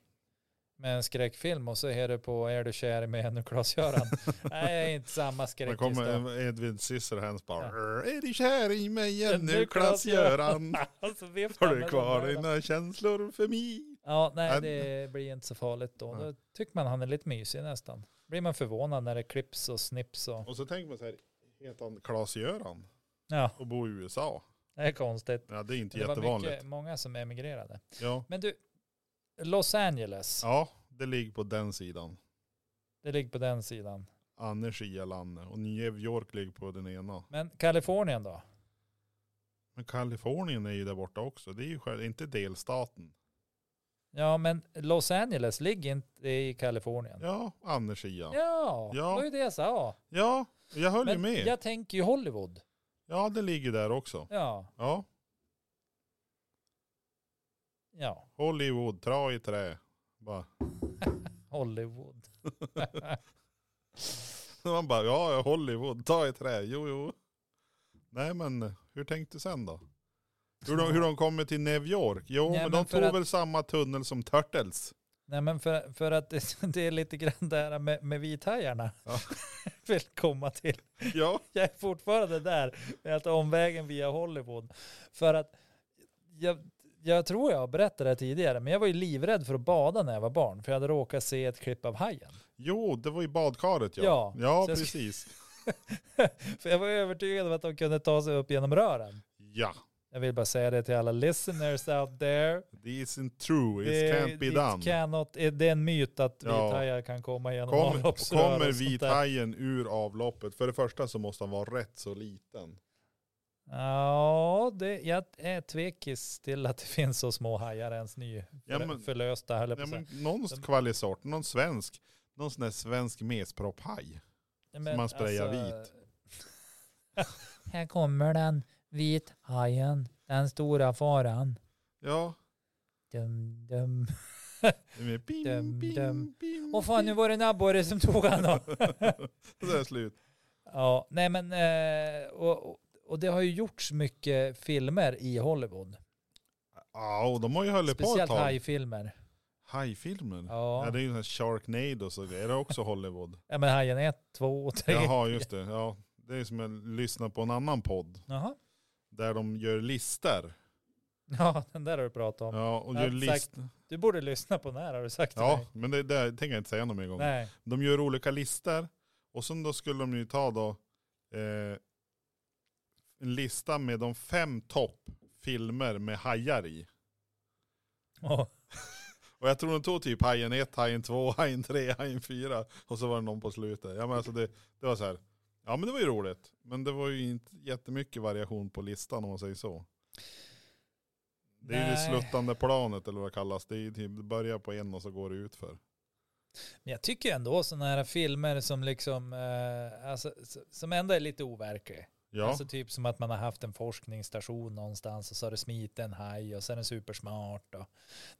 [SPEAKER 2] Med en skräckfilm och så är det på Är du kär med en och Klas-Göran. Nej, inte samma
[SPEAKER 1] Då
[SPEAKER 2] skräck.
[SPEAKER 1] kommer Edvin Scissorhands bara.
[SPEAKER 2] Ja.
[SPEAKER 1] Är du kär i mig än nu Klas-Göran?
[SPEAKER 2] Klas-Göran. alltså, viftar
[SPEAKER 1] Har du
[SPEAKER 2] med
[SPEAKER 1] kvar
[SPEAKER 2] de där.
[SPEAKER 1] dina känslor för mig?
[SPEAKER 2] Ja,
[SPEAKER 1] Nej.
[SPEAKER 2] nej det blir inte så farligt då. Då
[SPEAKER 1] Nej.
[SPEAKER 2] tycker man han är lite mysig nästan. Blir man förvånad när det klipps och snips och...
[SPEAKER 1] Och så tänker man så här. Heter han Klas-Göran
[SPEAKER 2] Ja,
[SPEAKER 1] och bor i USA.
[SPEAKER 2] det är konstigt.
[SPEAKER 1] Ja, det är inte
[SPEAKER 2] Det var
[SPEAKER 1] jättevanligt.
[SPEAKER 2] mycket, många som emigrerade.
[SPEAKER 1] Ja.
[SPEAKER 2] Men du, Los Angeles,
[SPEAKER 1] ja, det ligger på den sidan.
[SPEAKER 2] det ligger på den sidan.
[SPEAKER 1] Annars är Lanne. Och New York ligger på den ena.
[SPEAKER 2] Men Kalifornien då?
[SPEAKER 1] Men Kalifornien är ju där borta också. Det är ju själv, inte delstaten.
[SPEAKER 2] Ja, men Los Angeles ligger inte i Kalifornien.
[SPEAKER 1] Ja, Annerskia. Ja.
[SPEAKER 2] Ja, det
[SPEAKER 1] Ja.
[SPEAKER 2] var ju det jag sa.
[SPEAKER 1] ja, jag höll ju
[SPEAKER 2] Men
[SPEAKER 1] med.
[SPEAKER 2] jag tänker ju Hollywood.
[SPEAKER 1] Ja, det ligger där också.
[SPEAKER 2] Ja,
[SPEAKER 1] Ja,
[SPEAKER 2] ja,
[SPEAKER 1] Hollywood, tra i trä. Bara.
[SPEAKER 2] Hollywood.
[SPEAKER 1] Man bara, ja, ja, Hollywood, ta i trä, jo, jo. Nej, men hur tänkte sen då? Hur de, hur de kommer till New York? Jo,
[SPEAKER 2] Nej,
[SPEAKER 1] men
[SPEAKER 2] men
[SPEAKER 1] de
[SPEAKER 2] för
[SPEAKER 1] tog
[SPEAKER 2] att-
[SPEAKER 1] väl samma tunnel som Turtles?
[SPEAKER 2] Nej, men för, för att det, det är lite grann det här med, med vithajarna.
[SPEAKER 1] Ja.
[SPEAKER 2] Vill komma till.
[SPEAKER 1] Ja,
[SPEAKER 2] Jag är fortfarande där med att omvägen via Hollywood. För att jag, jag tror jag har berättat det här tidigare, men jag var ju livrädd för att bada när jag var barn, för jag hade råkat se ett klipp av hajen.
[SPEAKER 1] jo, det var ju badkaret ja.
[SPEAKER 2] Ja,
[SPEAKER 1] ja
[SPEAKER 2] så jag ska-
[SPEAKER 1] precis.
[SPEAKER 2] För jag var övertygad om att de kunde ta sig upp genom rören.
[SPEAKER 1] Ja,
[SPEAKER 2] Jag vill bara säga det till alla listeners out there.
[SPEAKER 1] this isn't true, it can't be
[SPEAKER 2] it
[SPEAKER 1] done.
[SPEAKER 2] Cannot, eh, det är en myt att
[SPEAKER 1] Ja.
[SPEAKER 2] vithajar kan komma genom
[SPEAKER 1] Kommer,
[SPEAKER 2] avloppsrör och
[SPEAKER 1] kommer
[SPEAKER 2] sånt där.
[SPEAKER 1] vithajen ur avloppet? För det första så måste han vara rätt så liten.
[SPEAKER 2] Ja, det, jag är tvekis till att det finns så små hajar ens ny
[SPEAKER 1] Ja, men-
[SPEAKER 2] förlösta. höll jag på
[SPEAKER 1] Ja,
[SPEAKER 2] att säga.
[SPEAKER 1] men någon
[SPEAKER 2] De-
[SPEAKER 1] kvalisort, någon svensk, någon sån där svensk mespropphaj.
[SPEAKER 2] Men alltså-
[SPEAKER 1] man sprayar vit.
[SPEAKER 2] här kommer den, vit hajen, den stora faran.
[SPEAKER 1] Ja,
[SPEAKER 2] Dum, dum.
[SPEAKER 1] det är med bim,
[SPEAKER 2] Dum,
[SPEAKER 1] bim,
[SPEAKER 2] dum.
[SPEAKER 1] bim.
[SPEAKER 2] Och fan, nu var det en abborre som tog han då.
[SPEAKER 1] Så är det slut.
[SPEAKER 2] Ja, nej men, eh, och, och- och det har ju gjorts mycket filmer i Hollywood.
[SPEAKER 1] Ja, och de har ju hållit på ett
[SPEAKER 2] Speciellt
[SPEAKER 1] tag.
[SPEAKER 2] hajfilmer.
[SPEAKER 1] Hajfilmen? Ja.
[SPEAKER 2] Ja.
[SPEAKER 1] det är ju den här Sharknado, så det är det också Hollywood.
[SPEAKER 2] ja, men Hajen 1, 2 och 3.
[SPEAKER 1] Jaha, just det. Ja, det är som jag lyssnar på en annan podd,
[SPEAKER 2] Jaha.
[SPEAKER 1] där de gör listor.
[SPEAKER 2] Ja, den där har du pratat om.
[SPEAKER 1] Ja, och
[SPEAKER 2] Jag
[SPEAKER 1] gör
[SPEAKER 2] har sagt-
[SPEAKER 1] list...
[SPEAKER 2] Du borde lyssna på den här har du sagt till
[SPEAKER 1] Ja,
[SPEAKER 2] mig.
[SPEAKER 1] men det, det tänker jag inte säga någon mer gång.
[SPEAKER 2] Nej.
[SPEAKER 1] De gör olika listor och sen då skulle de ju ta då eh, en lista med de fem topp filmer med hajar i.
[SPEAKER 2] Åh,
[SPEAKER 1] Och jag tror de tog typ Hajen 1, Hajen 2, Hajen 3, Hajen 4 och så var det någon på slutet. Ja men alltså det, det var så här. Ja men det var ju roligt. Men det var ju inte jättemycket variation på listan om man säger så. Det är ju det
[SPEAKER 2] Nej.
[SPEAKER 1] sluttande planet eller vad det kallas. Det, är ju typ, det börjar på en och så går det ut för.
[SPEAKER 2] Men jag tycker ändå sådana här filmer som liksom, eh, alltså, s- som ändå är lite overklig.
[SPEAKER 1] Ja,
[SPEAKER 2] Alltså typ som att man har haft en forskningsstation någonstans och så har det smit en haj och sen är den supersmart och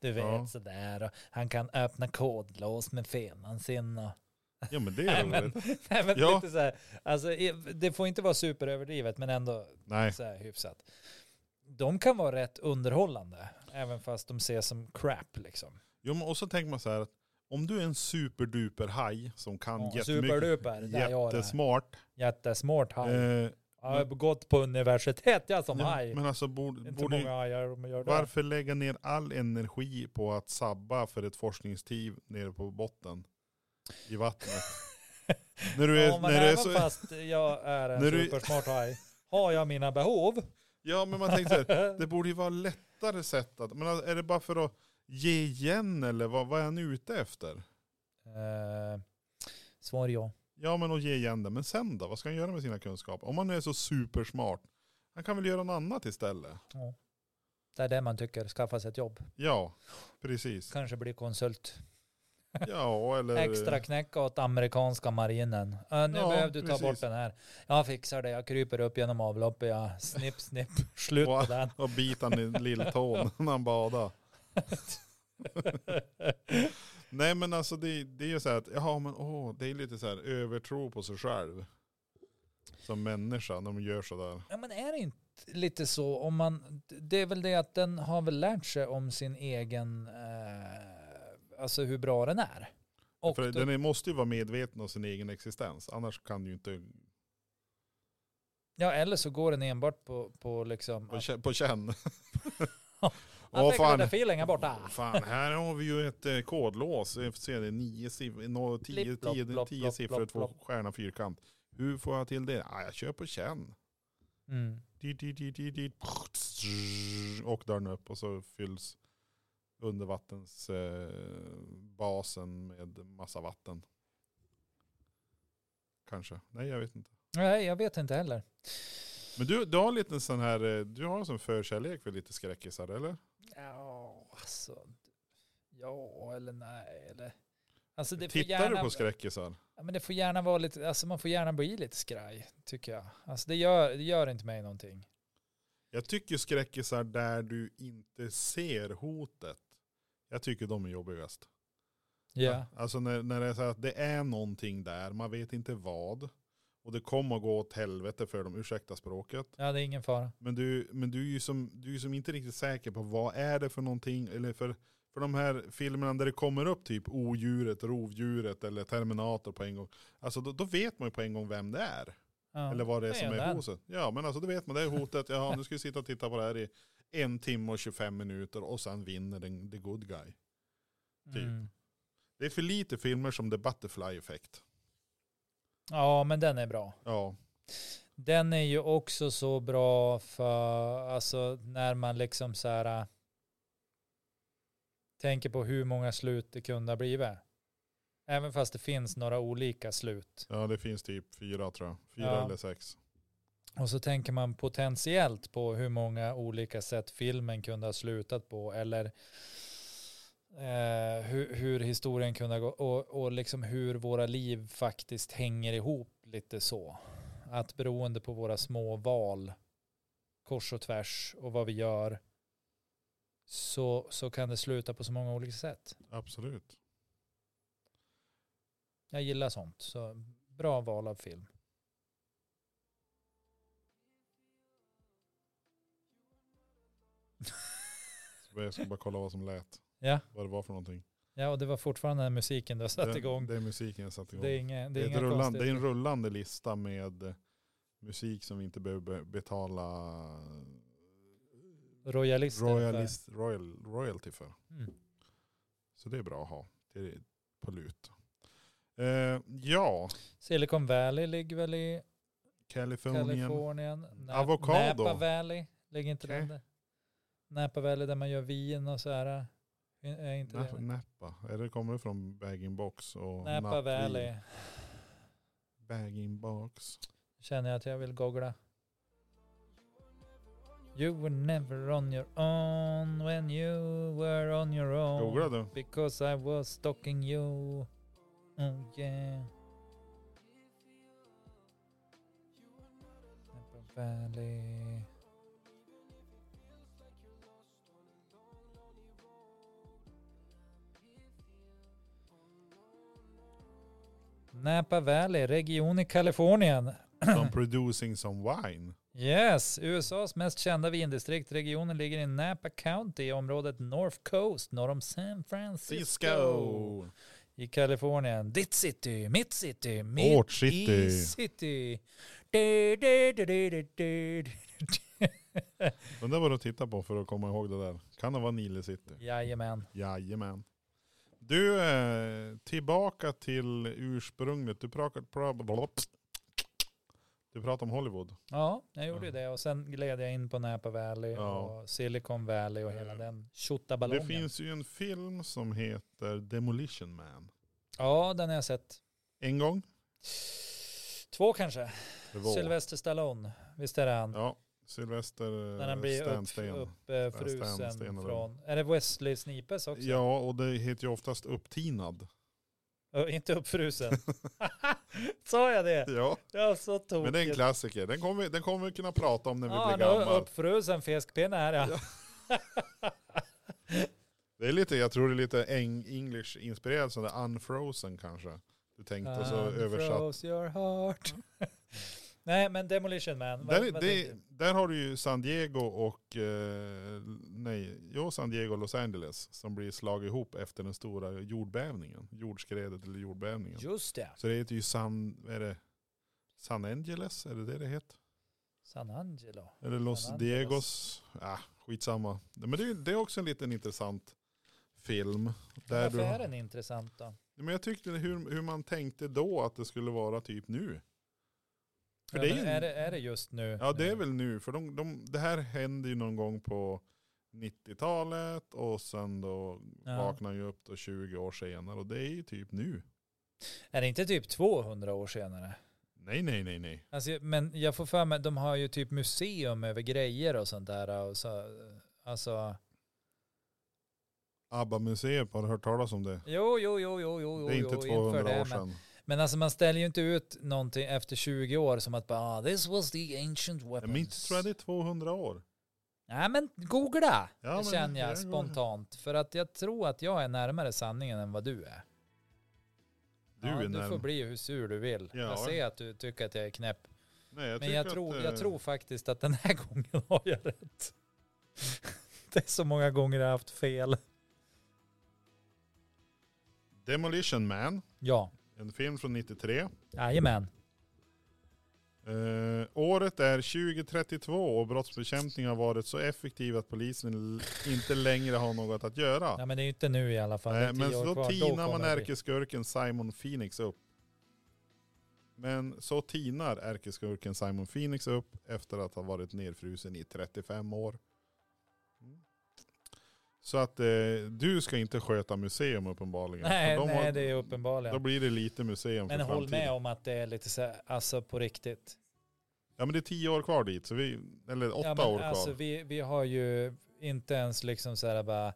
[SPEAKER 2] du vet
[SPEAKER 1] Ja.
[SPEAKER 2] sådär och han kan öppna kodlås med fenan sin och
[SPEAKER 1] ja men det
[SPEAKER 2] Nej,
[SPEAKER 1] är
[SPEAKER 2] men,
[SPEAKER 1] roligt.
[SPEAKER 2] nej, men
[SPEAKER 1] Ja.
[SPEAKER 2] lite så här, alltså, i- det får inte vara superöverdrivet men ändå
[SPEAKER 1] Nej,
[SPEAKER 2] så här hyfsat. De kan vara rätt underhållande, även fast de ses som crap liksom.
[SPEAKER 1] jo, men och så tänker man så här att om du är en superduper haj som kan
[SPEAKER 2] Ja,
[SPEAKER 1] jättemycket,
[SPEAKER 2] Superduper, där jag är.
[SPEAKER 1] jättesmart.
[SPEAKER 2] Jättesmart haj.
[SPEAKER 1] Eh,
[SPEAKER 2] jag har gått på universitet jag som haj.
[SPEAKER 1] men alltså borde,
[SPEAKER 2] inte
[SPEAKER 1] borde,
[SPEAKER 2] många hajar de gör det.
[SPEAKER 1] Varför lägga ner all energi på att sabba för ett forskningsteam nere på botten i vattnet? när du är,
[SPEAKER 2] ja, men
[SPEAKER 1] när du är
[SPEAKER 2] även
[SPEAKER 1] så,
[SPEAKER 2] fast jag är en
[SPEAKER 1] När du-
[SPEAKER 2] supersmart haj, har jag mina behov. Eh,
[SPEAKER 1] ja men man tänker så här, det borde ju vara lättare sätt att, men är det bara för att ge igen eller vad, vad är han ute efter?
[SPEAKER 2] Eh, svar ja.
[SPEAKER 1] Ja men att ge igen det, men sen då? Vad ska han göra med sina kunskaper? Om han nu är så supersmart, han kan väl göra något annat istället?
[SPEAKER 2] Det är det man tycker, skaffa sig ett jobb.
[SPEAKER 1] Ja, precis.
[SPEAKER 2] Kanske bli konsult.
[SPEAKER 1] Ja, eller...
[SPEAKER 2] Extra knäcka åt amerikanska marinen. Äh, nu
[SPEAKER 1] Eh. Ja,
[SPEAKER 2] behöver du ta
[SPEAKER 1] precis.
[SPEAKER 2] bort den här. Jag fixar det, jag kryper upp genom avloppet, jag snipp, snipp, slut på
[SPEAKER 1] Wow.
[SPEAKER 2] den.
[SPEAKER 1] Och bita han i lilltån när han badar. Nej men alltså det, det är ju så här att, jaha men åh, det är lite så här övertro på sig själv. Som människa när de gör sådär.
[SPEAKER 2] Ja men är det inte lite så om man, det är väl det att den har väl lärt sig om sin egen, eh, alltså hur bra den är. Och
[SPEAKER 1] För
[SPEAKER 2] då,
[SPEAKER 1] den är- måste ju vara medveten om sin egen existens, annars kan du ju inte
[SPEAKER 2] Ja eller så går den enbart på, på liksom,
[SPEAKER 1] på, kä- på känn.
[SPEAKER 2] att
[SPEAKER 1] Åh
[SPEAKER 2] fan.
[SPEAKER 1] fan,
[SPEAKER 2] filen är borta.
[SPEAKER 1] fan, här har vi ju ett eh, kodlås. Jag får se, det är nio siffror,
[SPEAKER 2] Blipp, blopp, blopp,
[SPEAKER 1] 10
[SPEAKER 2] blopp,
[SPEAKER 1] siffror,
[SPEAKER 2] blopp,
[SPEAKER 1] två
[SPEAKER 2] blopp.
[SPEAKER 1] stjärna fyrkant. Hur får jag till det? Ah, jag kör på känn.
[SPEAKER 2] Mm.
[SPEAKER 1] Dit, dit, dit, dit, dit. Och dörren upp och så fylls undervattensbasen med massa vatten. Kanske. Nej, jag vet inte.
[SPEAKER 2] Nej, jag vet inte heller.
[SPEAKER 1] Men du, du har en liten sån här, eh, du har en sån förkärlek för lite skräckisar eller?
[SPEAKER 2] Ja, alltså. Ja eller nej eller. Alltså det får
[SPEAKER 1] Tittar
[SPEAKER 2] gärna,
[SPEAKER 1] du på skräckisar?
[SPEAKER 2] Ja, men det får gärna vara lite, alltså man får gärna bli lite skraj tycker jag. Alltså det gör, det gör inte mig någonting.
[SPEAKER 1] Jag tycker skräckisar där du inte ser hotet. Jag tycker de är jobbigast.
[SPEAKER 2] Ja.
[SPEAKER 1] Alltså när, när det är så här att det är någonting där, man vet inte vad. Och det kommer att gå åt helvete för dem, ursäkta språket.
[SPEAKER 2] Ja, det är ingen fara.
[SPEAKER 1] Men du, men du är ju som, du är ju som inte riktigt säker på vad är det för någonting. Eller för, för de här filmerna där det kommer upp typ odjuret, rovdjuret eller Terminator på en gång. Alltså då, då vet man ju på en gång vem det är.
[SPEAKER 2] Ja.
[SPEAKER 1] Eller vad det är
[SPEAKER 2] det är
[SPEAKER 1] som
[SPEAKER 2] ju
[SPEAKER 1] är
[SPEAKER 2] den.
[SPEAKER 1] hoset. Ja men alltså då vet man, det är hotet. Jaha nu ska vi sitta och titta på det här i en timme och 25 minuter och sen vinner den, the good guy. typ.
[SPEAKER 2] Mm.
[SPEAKER 1] Det är för lite filmer som The Butterfly Effect.
[SPEAKER 2] Ja, men den är bra.
[SPEAKER 1] Ja.
[SPEAKER 2] Den är ju också så bra för, alltså när man liksom så här äh, tänker på hur många slut det kunde ha blivit. Även fast det finns några olika slut.
[SPEAKER 1] ja det finns typ fyra tror jag. Fyra
[SPEAKER 2] Ja.
[SPEAKER 1] eller sex.
[SPEAKER 2] Och så tänker man potentiellt på hur många olika sätt filmen kunde ha slutat på eller eh, hur, hur historien kunde ha gått och, och liksom hur våra liv faktiskt hänger ihop lite så. Att beroende på våra små val kors och tvärs och vad vi gör så, så kan det sluta på så många olika sätt.
[SPEAKER 1] Absolut.
[SPEAKER 2] Jag gillar sånt. Så bra val av film.
[SPEAKER 1] Så jag ska bara kolla vad som lät.
[SPEAKER 2] Ja,
[SPEAKER 1] Vad det var för någonting.
[SPEAKER 2] ja och det var fortfarande den här musiken du har satt
[SPEAKER 1] Den-
[SPEAKER 2] igång.
[SPEAKER 1] Det är musiken jag satte igång.
[SPEAKER 2] Det är inga, det är
[SPEAKER 1] ett
[SPEAKER 2] inga
[SPEAKER 1] rullan- det är
[SPEAKER 2] konstigheter.
[SPEAKER 1] en rullande lista med eh, musik som vi inte behöver be- betala eh,
[SPEAKER 2] Royalister.
[SPEAKER 1] royalist, royal, royalty för.
[SPEAKER 2] Mm.
[SPEAKER 1] Så det är bra att ha till, på lut. Eh, ja,
[SPEAKER 2] Silicon Valley ligger väl i
[SPEAKER 1] Kalifornien.
[SPEAKER 2] Kalifornien. Nä-
[SPEAKER 1] Avocado.
[SPEAKER 2] Napa Valley, ligger inte
[SPEAKER 1] Okej.
[SPEAKER 2] den där? Napa Valley där man gör vin och så här. Är- Är inte
[SPEAKER 1] Napa,
[SPEAKER 2] det?
[SPEAKER 1] Napa. Är det kommer det från Bag-in-box? och
[SPEAKER 2] Napa
[SPEAKER 1] Napvin?
[SPEAKER 2] Valley
[SPEAKER 1] Bag-in-box.
[SPEAKER 2] känner jag att jag vill googla. You were never on your own when you were on your own.
[SPEAKER 1] Googla du.
[SPEAKER 2] Because I was stalking you. Oh yeah. Napa Valley. Napa Valley, region i Kalifornien.
[SPEAKER 1] Som producing some wine.
[SPEAKER 2] Yes, USAs mest kända vindistrikt. Regionen ligger i Napa County i området North Coast norr om San Francisco.
[SPEAKER 1] Cisco.
[SPEAKER 2] I Kalifornien. Ditt city, mitt city, mitt
[SPEAKER 1] Vårt city.
[SPEAKER 2] i city. Du, du, du, du, du, du, du.
[SPEAKER 1] Undrar vad du tittar på för att komma ihåg det där. Kan det vara Nile City?
[SPEAKER 2] Jajamän.
[SPEAKER 1] Jajamän. Du, eh, tillbaka till ursprunget. Du pratade du pratar om Hollywood.
[SPEAKER 2] Ja, jag gjorde ju
[SPEAKER 1] Ja.
[SPEAKER 2] det och sen gled jag in på Napa Valley
[SPEAKER 1] Ja.
[SPEAKER 2] och Silicon Valley och hela
[SPEAKER 1] Eh,
[SPEAKER 2] den tjottaballongen.
[SPEAKER 1] Det finns ju en film som heter Demolition Man.
[SPEAKER 2] Ja, den har jag sett.
[SPEAKER 1] En gång.
[SPEAKER 2] Två kanske.
[SPEAKER 1] Det var.
[SPEAKER 2] Sylvester Stallone, visst är det han?
[SPEAKER 1] Ja, Sylvester eh,
[SPEAKER 2] När han blir
[SPEAKER 1] Sten,
[SPEAKER 2] upp,
[SPEAKER 1] Sten.
[SPEAKER 2] uppfrusen
[SPEAKER 1] Stan- Sten eller-
[SPEAKER 2] från, är det Wesley Snipes också?
[SPEAKER 1] Ja, och det heter ju oftast Upptinad.
[SPEAKER 2] Ö, inte uppfrusen. Sa jag det?
[SPEAKER 1] Ja,
[SPEAKER 2] Jag är så tokig.
[SPEAKER 1] men det är en klassiker. Den kommer vi, den kommer vi kunna prata om när vi
[SPEAKER 2] Ja,
[SPEAKER 1] blir
[SPEAKER 2] han har
[SPEAKER 1] gamla.
[SPEAKER 2] uppfrusen fiskpinne här ja.
[SPEAKER 1] Det är lite, jag tror det är lite eng- English inspirerat sån där unfrozen kanske. Du tänkte och så
[SPEAKER 2] And
[SPEAKER 1] översatt.
[SPEAKER 2] froze your heart. Nej, men Demolition Man. vad-
[SPEAKER 1] Där,
[SPEAKER 2] vad
[SPEAKER 1] det,
[SPEAKER 2] tänker du?
[SPEAKER 1] där har du ju San Diego och, eh, nej, jo San Diego och Los Angeles som blir slag ihop efter den stora jordbävningen. Jordskredet eller jordbävningen.
[SPEAKER 2] Just det.
[SPEAKER 1] Så det heter ju San, vad är det? San Angeles, är det det det heter?
[SPEAKER 2] San Angelo.
[SPEAKER 1] Eller Los
[SPEAKER 2] San Angeles.
[SPEAKER 1] Diegos? Ah, skitsamma. Men det, är- det är också en liten intressant film. Där
[SPEAKER 2] Varför
[SPEAKER 1] du har-
[SPEAKER 2] är den intressant då?
[SPEAKER 1] Nej, Men jag tyckte hur, hur man tänkte då att det skulle vara typ nu. För
[SPEAKER 2] Ja,
[SPEAKER 1] det är
[SPEAKER 2] men
[SPEAKER 1] ju-
[SPEAKER 2] är, det, är det just nu?
[SPEAKER 1] Ja det är väl nu, för de, de, det här hände ju någon gång på 90-talet och sen då
[SPEAKER 2] Ja.
[SPEAKER 1] vaknar ju upp då 20 år senare och det är ju typ nu.
[SPEAKER 2] Är det inte typ 200 år senare?
[SPEAKER 1] Nej nej nej nej.
[SPEAKER 2] Alltså, men jag får för mig, de har ju typ museum över grejer och sånt där. Och så, alltså,
[SPEAKER 1] ABBA-museet, har du hört talas om det?
[SPEAKER 2] jo, jo, jo, jo, jo, jo,
[SPEAKER 1] det är inte
[SPEAKER 2] jo, inför
[SPEAKER 1] 200
[SPEAKER 2] det,
[SPEAKER 1] år
[SPEAKER 2] men-
[SPEAKER 1] sedan.
[SPEAKER 2] Men alltså man ställer ju inte ut någonting efter 20 år som att bara ah, this was the ancient
[SPEAKER 1] Jag
[SPEAKER 2] weapons.
[SPEAKER 1] minns, tror jag det är 200 år.
[SPEAKER 2] Nej men googla,
[SPEAKER 1] Ja,
[SPEAKER 2] det
[SPEAKER 1] men
[SPEAKER 2] känner jag
[SPEAKER 1] jag googlar.
[SPEAKER 2] spontant. För att jag tror att jag är närmare sanningen än vad du är.
[SPEAKER 1] Du
[SPEAKER 2] ja,
[SPEAKER 1] är
[SPEAKER 2] du får
[SPEAKER 1] närmare.
[SPEAKER 2] bli hur sur du vill.
[SPEAKER 1] Ja.
[SPEAKER 2] Jag ser att du tycker att jag är knäpp.
[SPEAKER 1] Nej, jag
[SPEAKER 2] men
[SPEAKER 1] tycker
[SPEAKER 2] jag tror,
[SPEAKER 1] att, eh,
[SPEAKER 2] jag tror faktiskt att den här gången har jag rätt. det är så många gånger jag har haft fel.
[SPEAKER 1] Demolition Man,
[SPEAKER 2] Ja,
[SPEAKER 1] en film från 93.
[SPEAKER 2] jajamän.
[SPEAKER 1] Eh, året är 2032 och brottsbekämpning har varit så effektiv att polisen l- inte längre har något att göra.
[SPEAKER 2] Ja men det är ju inte nu i alla fall. Det är
[SPEAKER 1] Nej, men
[SPEAKER 2] tio år
[SPEAKER 1] så då
[SPEAKER 2] kvar. Då
[SPEAKER 1] tinar man
[SPEAKER 2] kommer det bli-
[SPEAKER 1] ärkeskurken Simon Phoenix upp. Men så tinar ärkeskurken Simon Phoenix upp efter att ha varit nedfrusen i 35 år. Mm. Så att eh, du ska inte sköta museum uppenbarligen.
[SPEAKER 2] Nej,
[SPEAKER 1] För de har-
[SPEAKER 2] nej det är uppenbarligen.
[SPEAKER 1] Då blir det lite museum
[SPEAKER 2] Men
[SPEAKER 1] för
[SPEAKER 2] håll
[SPEAKER 1] framtiden.
[SPEAKER 2] med om att det är lite så här, alltså på riktigt.
[SPEAKER 1] Ja men det är 10 år kvar dit, så vi, eller 8
[SPEAKER 2] ja, men
[SPEAKER 1] år kvar.
[SPEAKER 2] alltså, vi, vi har ju inte ens liksom så här bara,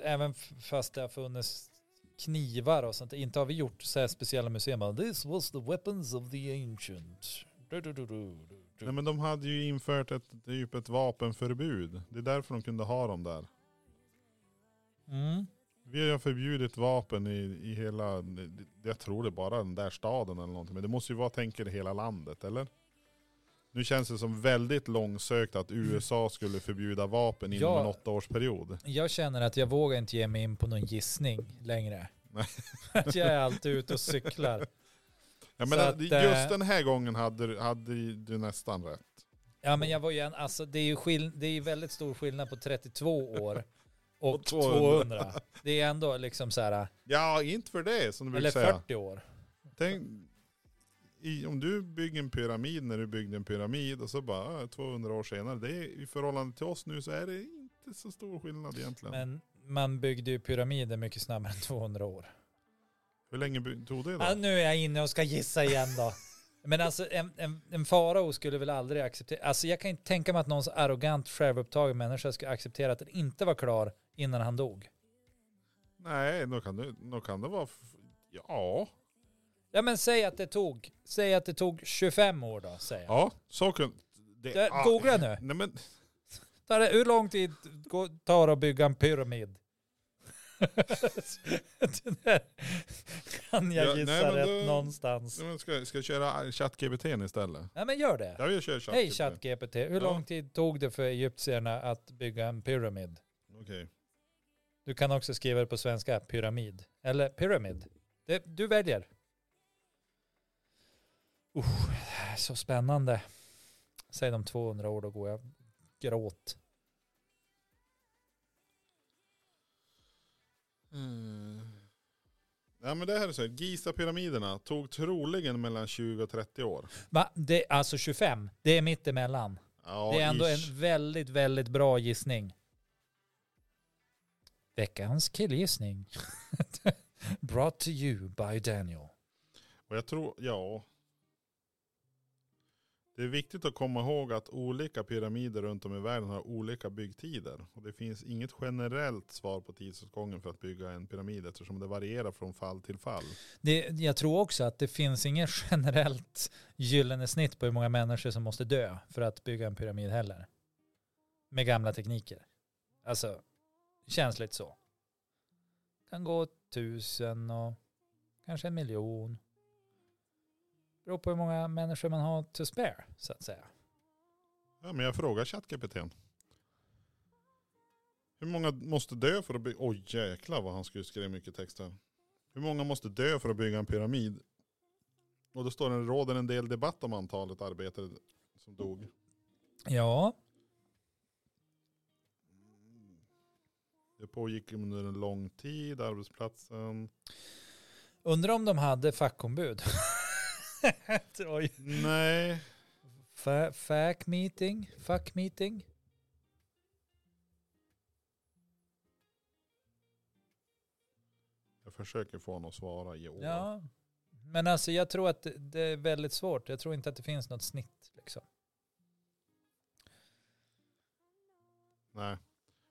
[SPEAKER 2] även f- fast det har funnits knivar och sånt, inte har vi gjort så här speciella museum, bara, this was the weapons of the ancient. Du, du, du, du, du, du.
[SPEAKER 1] Nej men de hade ju infört ett, typ ett vapenförbud. Det är därför de kunde ha dem där.
[SPEAKER 2] Mm.
[SPEAKER 1] Vi har förbjudit vapen i, i hela, jag tror det är bara den där staden eller någonting. Men det måste ju vara, tänker hela landet eller? Nu känns det som väldigt långsökt att USA skulle förbjuda vapen inom
[SPEAKER 2] Mm. Ja.
[SPEAKER 1] en åttaårsperiod.
[SPEAKER 2] Jag känner att jag vågar inte ge mig in på någon gissning längre.
[SPEAKER 1] Nej.
[SPEAKER 2] att jag är alltid ute och cyklar.
[SPEAKER 1] Ja,
[SPEAKER 2] Så
[SPEAKER 1] men
[SPEAKER 2] att,
[SPEAKER 1] just
[SPEAKER 2] eh,
[SPEAKER 1] den här gången hade, du- hade du nästan rätt.
[SPEAKER 2] Ja men jag var ju en, alltså det är ju skill- det är ju väldigt stor skillnad på 32 år och,
[SPEAKER 1] Och
[SPEAKER 2] 200.
[SPEAKER 1] 200.
[SPEAKER 2] Det är ändå liksom så här,
[SPEAKER 1] Ja, inte för det som du brukar
[SPEAKER 2] eller
[SPEAKER 1] säga.
[SPEAKER 2] 40 år.
[SPEAKER 1] Tänk, i, om du bygger en pyramid när du byggde en pyramid och så bara ah, 200 år senare, det är, i förhållande till oss nu så är det inte så stor skillnad egentligen.
[SPEAKER 2] Men man byggde ju pyramider mycket snabbare än 200 år.
[SPEAKER 1] Hur länge by- tog det då?
[SPEAKER 2] Ah, nu är jag inne och ska gissa igen då. Men alltså en, en, en farao skulle väl aldrig acceptera, alltså jag kan inte tänka mig att någon så arrogant självupptagen människa skulle acceptera att den inte var klar innan han dog.
[SPEAKER 1] Nej, då kan, det, då kan det vara, f- ja.
[SPEAKER 2] Ja men säg att det tog, säg att det tog 25 år då säger jag.
[SPEAKER 1] Ja, så kan det.
[SPEAKER 2] Ja,
[SPEAKER 1] ah,
[SPEAKER 2] googla nu.
[SPEAKER 1] Nej men,
[SPEAKER 2] Tar det, hur lång tid går- tar det att bygga en pyramid? Det där kan jag
[SPEAKER 1] Ja,
[SPEAKER 2] gissa
[SPEAKER 1] nej, men
[SPEAKER 2] rätt
[SPEAKER 1] då-
[SPEAKER 2] någonstans.
[SPEAKER 1] nej, men ska, ska jag köra ChatGPT istället?
[SPEAKER 2] Nej men gör det.
[SPEAKER 1] Ja, jag kör ChatGPT.
[SPEAKER 2] Hej ChatGPT, hur
[SPEAKER 1] Ja.
[SPEAKER 2] lång tid tog det för egyptierna att bygga en pyramid?
[SPEAKER 1] Okej.
[SPEAKER 2] Du kan också skriva det på svenska, pyramid. Eller pyramid. Det, du väljer. Uh, det här är så spännande. Säg de 200 år, då går jag gråt.
[SPEAKER 1] Nej men det här är så här, Giza-pyramiderna tog troligen mellan 20 och 30 år.
[SPEAKER 2] Va? Det, alltså 25, det är mitt emellan.
[SPEAKER 1] Ja,
[SPEAKER 2] Det är ändå
[SPEAKER 1] ish.
[SPEAKER 2] en väldigt, väldigt bra gissning. Veckans killgissning. Brought to you by Daniel.
[SPEAKER 1] Och jag tror, ja. Det är viktigt att komma ihåg att olika pyramider runt om i världen har olika byggtider. Och det finns inget generellt svar på tidsåtgången för att bygga en pyramid eftersom det varierar från fall till fall.
[SPEAKER 2] Det, jag tror också att det finns inget generellt gyllene snitt på hur många människor som måste dö för att bygga en pyramid heller. Med gamla tekniker. Alltså, känns lite så. Kan gå tusen och kanske en miljon. Beror på hur många människor man har to spare, så att säga.
[SPEAKER 1] Ja, men jag frågar chattkapten. Hur många måste dö för att bygga... Oj jäklar vad han skulle skriva mycket text här. Hur många måste dö för att bygga en pyramid? Och då står det, råder en del debatt om antalet arbetare som dog.
[SPEAKER 2] Ja,
[SPEAKER 1] Det pågick under en lång tid, arbetsplatsen.
[SPEAKER 2] Undrar om de hade fackombud. Oj.
[SPEAKER 1] Nej.
[SPEAKER 2] Fa- Fack meeting? Fuck meeting?
[SPEAKER 1] Jag försöker få honom att svara i år.
[SPEAKER 2] Ja. Men alltså jag tror att det- det är väldigt svårt. Jag tror inte att det finns något snitt. Liksom.
[SPEAKER 1] Nej.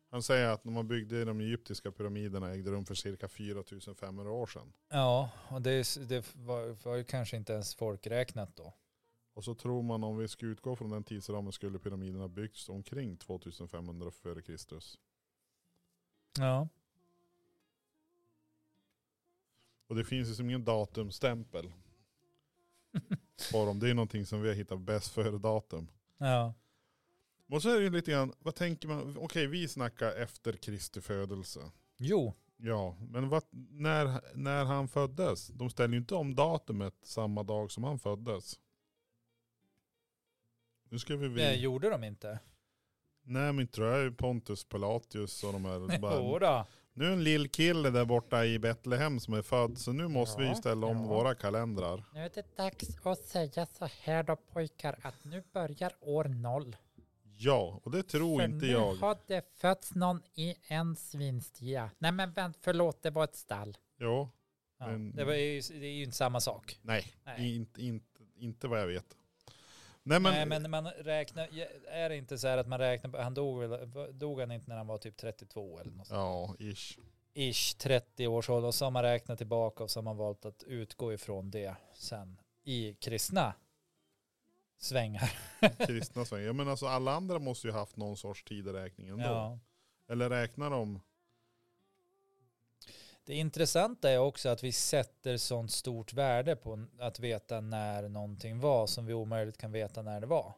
[SPEAKER 1] Han säger att när man byggde de egyptiska pyramiderna ägde rum för cirka 4500 år sedan.
[SPEAKER 2] Ja, och det, är s- det var, var ju kanske inte ens folkräknat då.
[SPEAKER 1] Och så tror man om vi ska utgå från den tidsramen skulle pyramiderna byggts omkring 2500 före Kristus.
[SPEAKER 2] Ja.
[SPEAKER 1] Och det finns ju som ingen datumstämpel på dem. Det är någonting som vi har hittat bäst före datum.
[SPEAKER 2] ja.
[SPEAKER 1] Och så är det ju lite grann, vad tänker man, okej vi snackar efter Kristi födelse.
[SPEAKER 2] Jo,
[SPEAKER 1] Ja, men vad, när, när han föddes? De ställer ju inte om datumet samma dag som han föddes. Nu ska vi...
[SPEAKER 2] det
[SPEAKER 1] vi
[SPEAKER 2] gjorde de inte.
[SPEAKER 1] nej men tror jag Pontus Pilatius och de här.
[SPEAKER 2] Jo
[SPEAKER 1] Bara,
[SPEAKER 2] då.
[SPEAKER 1] nu är en lill kille där borta i Betlehem som är född. Så nu måste
[SPEAKER 2] Ja,
[SPEAKER 1] vi ställa om
[SPEAKER 2] ja.
[SPEAKER 1] våra kalendrar.
[SPEAKER 3] Nu är det dags att säga så här då pojkar att nu börjar år noll.
[SPEAKER 1] Ja, och det tror
[SPEAKER 3] För
[SPEAKER 1] inte
[SPEAKER 3] nu
[SPEAKER 1] jag.
[SPEAKER 3] har det fötts någon i en svinstia. Nej men vänt, förlåt det var ett stall.
[SPEAKER 1] Ja,
[SPEAKER 2] Ja.
[SPEAKER 1] Men-
[SPEAKER 2] Det, var ju, det är ju inte samma sak.
[SPEAKER 1] nej,
[SPEAKER 2] Nej.
[SPEAKER 1] Inte, inte, inte vad jag vet. Nej men,
[SPEAKER 2] Nej, men man räknar, är det inte så här att man räknar på, han dog, väl, dog han inte när han var typ 32 eller något sånt?
[SPEAKER 1] ja, ish.
[SPEAKER 2] Ish, 30 års ålder och så har man räknat tillbaka och så har man valt att utgå ifrån det sen i kristna svängar.
[SPEAKER 1] Kristna svängar. Ja, men alltså alla andra måste ju haft någon sorts tideräkning ändå.
[SPEAKER 2] Ja.
[SPEAKER 1] Eller räknar de?
[SPEAKER 2] Det intressanta är också att vi sätter sånt stort värde på att veta när någonting var som vi omöjligt kan veta när det var.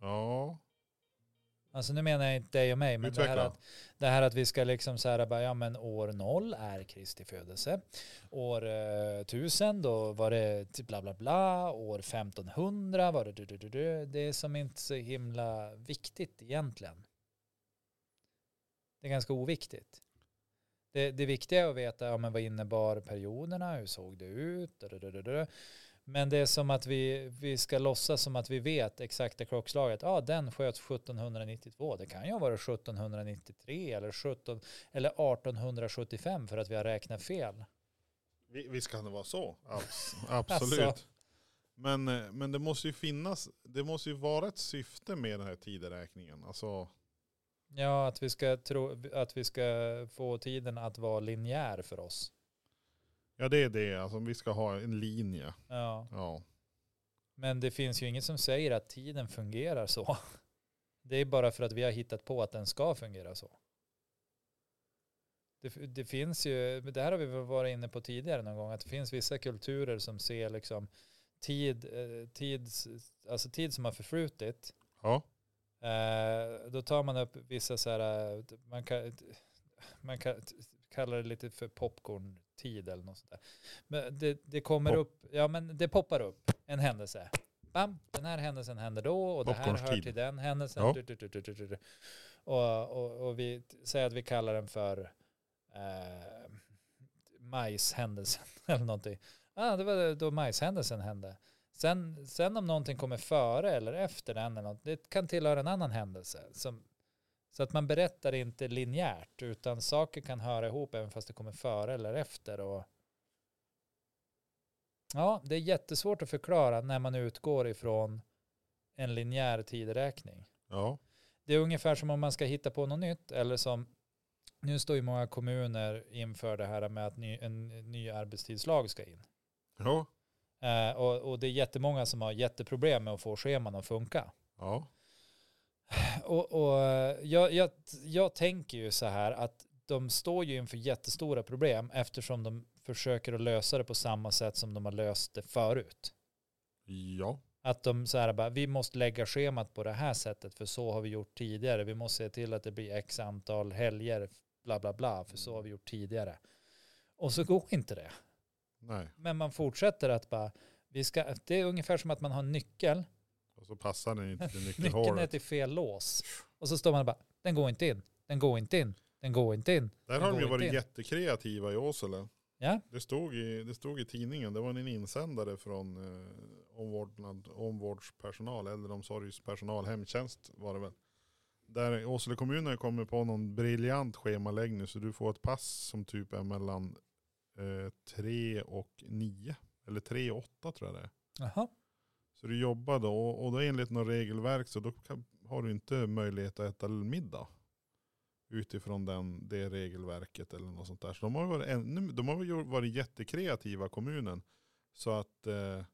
[SPEAKER 1] Ja.
[SPEAKER 2] Alltså nu menar jag inte dig och mig, men det här,
[SPEAKER 1] Utveckla.
[SPEAKER 2] att, det här att vi ska liksom så här, bara, ja men år noll är Kristi födelse, år eh, tusen då var det typ bla bla bla, år 1500 var det du, du, du, du. det är som inte så himla viktigt egentligen. Det är ganska oviktigt. Det, det viktiga är att veta, ja men vad innebar perioderna, hur såg det ut, du, du, du, du, du. Men det är som att vi, vi ska låtsas som att vi vet exakta klockslaget. Ja, den sköts 1792. Det kan ju ha varit 1793 eller, 17, eller 1875 för att vi har räknat fel.
[SPEAKER 1] Vi- Visst kan det vara så. Abs- absolut.
[SPEAKER 2] Alltså.
[SPEAKER 1] Men, eh, men det måste ju finnas, det måste ju vara ett syfte med den här tideräkningen. Alltså,
[SPEAKER 2] Ja, att vi ska, tro, att vi ska få tiden att vara linjär för oss.
[SPEAKER 1] ja det är det, alltså, vi ska ha en linje.
[SPEAKER 2] Ja.
[SPEAKER 1] Ja.
[SPEAKER 2] Men det finns ju inget som säger att tiden fungerar så. Det är bara för att vi har hittat på att den ska fungera så. Det, f- det finns ju, men det här har vi väl varit inne på tidigare någon gång, att det finns vissa kulturer som ser liksom tid, eh, tids, alltså tid som har förflutit
[SPEAKER 1] ja.
[SPEAKER 2] Eh, då tar man upp vissa så här, eh, man, kan, man kan kallar det lite för popcorn-tid eller något sånt där. Men det, det kommer
[SPEAKER 1] Pop-
[SPEAKER 2] upp, ja men det poppar upp en händelse. Bam, den här händelsen händer då och det här hör
[SPEAKER 1] Popcornstid.
[SPEAKER 2] till den händelsen.
[SPEAKER 1] Ja.
[SPEAKER 2] Du, du, du, du, du, du, du. Och, och, och vi t- säger att vi kallar den för eh, majshändelsen eller någonting. Ja, ah, det var då majshändelsen hände. Sen, sen om någonting kommer före eller efter den, eller något, det kan tillhöra en annan händelse. Som, så att man berättar inte linjärt, utan saker kan höra ihop även fast det kommer före eller efter. Och ja, det är jättesvårt att förklara när man utgår ifrån en linjär tideräkning.
[SPEAKER 1] ja.
[SPEAKER 2] Det är ungefär som om man ska hitta på något nytt eller som nu står ju många kommuner inför det här med att ny, en ny arbetstidslag ska in.
[SPEAKER 1] Ja.
[SPEAKER 2] Eh, och, och det är jättemånga som har jätteproblem med att få scheman att funka.
[SPEAKER 1] Ja.
[SPEAKER 2] Och, och eh, jag, jag, jag tänker ju så här att de står ju inför jättestora problem eftersom de försöker att lösa det på samma sätt som de har löst det förut.
[SPEAKER 1] Ja.
[SPEAKER 2] Att de så här bara, vi måste lägga schemat på det här sättet för så har vi gjort tidigare. Vi måste se till att det blir x antal helger, bla bla bla, för så har vi gjort tidigare. Och så går inte det.
[SPEAKER 1] Nej.
[SPEAKER 2] Men man fortsätter att bara, vi ska, det är ungefär som att man har en nyckel,
[SPEAKER 1] Och så passar den inte till
[SPEAKER 2] nyckeln är
[SPEAKER 1] nyckelhålet.
[SPEAKER 2] till fel lås. Och så står man och bara, den går inte in, den går inte in, den går inte in.
[SPEAKER 1] Där har
[SPEAKER 2] går
[SPEAKER 1] de ju
[SPEAKER 2] inte
[SPEAKER 1] varit
[SPEAKER 2] in.
[SPEAKER 1] jättekreativa i Åsele.
[SPEAKER 2] Ja.
[SPEAKER 1] Det, stod i, det stod i tidningen, det var en insändare från eh, omvårdnad, omvårdspersonal, äldreomsorgspersonal, hemtjänst var det väl. Där Åsele kommun har kommit på någon briljant schemaläggning så du får ett pass som typ är mellan eh, 3 och 9. Eller 3 och 8 tror jag det är.
[SPEAKER 2] Jaha.
[SPEAKER 1] Så du jobbar då och då enligt något regelverk så då kan, har du inte möjlighet att äta middag. Utifrån den, det regelverket eller något sånt där. Så de har varit, ännu, de har ju varit jättekreativa kommunen. Så att eh,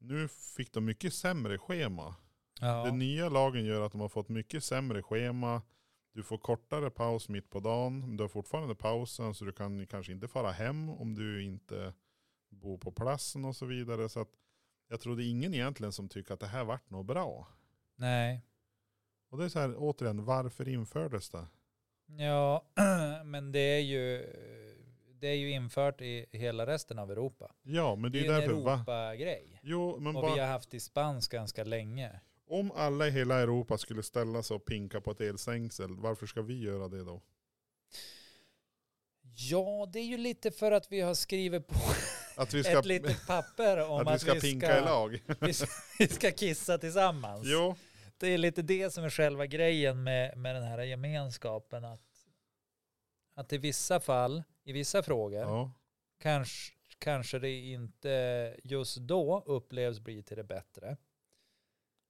[SPEAKER 1] nu fick de mycket sämre schema. Den
[SPEAKER 2] Ja.
[SPEAKER 1] nya lagen gör att de har fått mycket sämre schema. Du får kortare paus mitt på dagen. men Du har fortfarande pausen så du kan ju kanske inte fara hem om du inte bor på platsen och så vidare. Så att jag trodde ingen egentligen som tycker att det här vart något bra.
[SPEAKER 2] Nej.
[SPEAKER 1] Och det är så här återigen, varför infördes det?
[SPEAKER 2] Ja, men det är ju det är ju infört i hela resten av Europa.
[SPEAKER 1] Ja, men det är ju
[SPEAKER 2] en
[SPEAKER 1] därför va?
[SPEAKER 2] Europa-grej.
[SPEAKER 1] Jo, men
[SPEAKER 2] Och vi
[SPEAKER 1] bara,
[SPEAKER 2] har haft dispens ganska länge.
[SPEAKER 1] om alla i hela Europa skulle ställa sig och pinka på ett elstängsel, varför ska vi göra det då?
[SPEAKER 2] Ja, det är ju lite för att vi har skrivit på
[SPEAKER 1] Att vi ska,
[SPEAKER 2] ett litet papper om
[SPEAKER 1] att vi ska pinka i lag?
[SPEAKER 2] vi ska- vi ska kissa tillsammans.
[SPEAKER 1] Jo,
[SPEAKER 2] Det är lite det som är själva grejen med, med den här gemenskapen. Att, att i vissa fall, i vissa frågor,
[SPEAKER 1] ja,
[SPEAKER 2] kanske, kanske det inte just då upplevs bli till det bättre.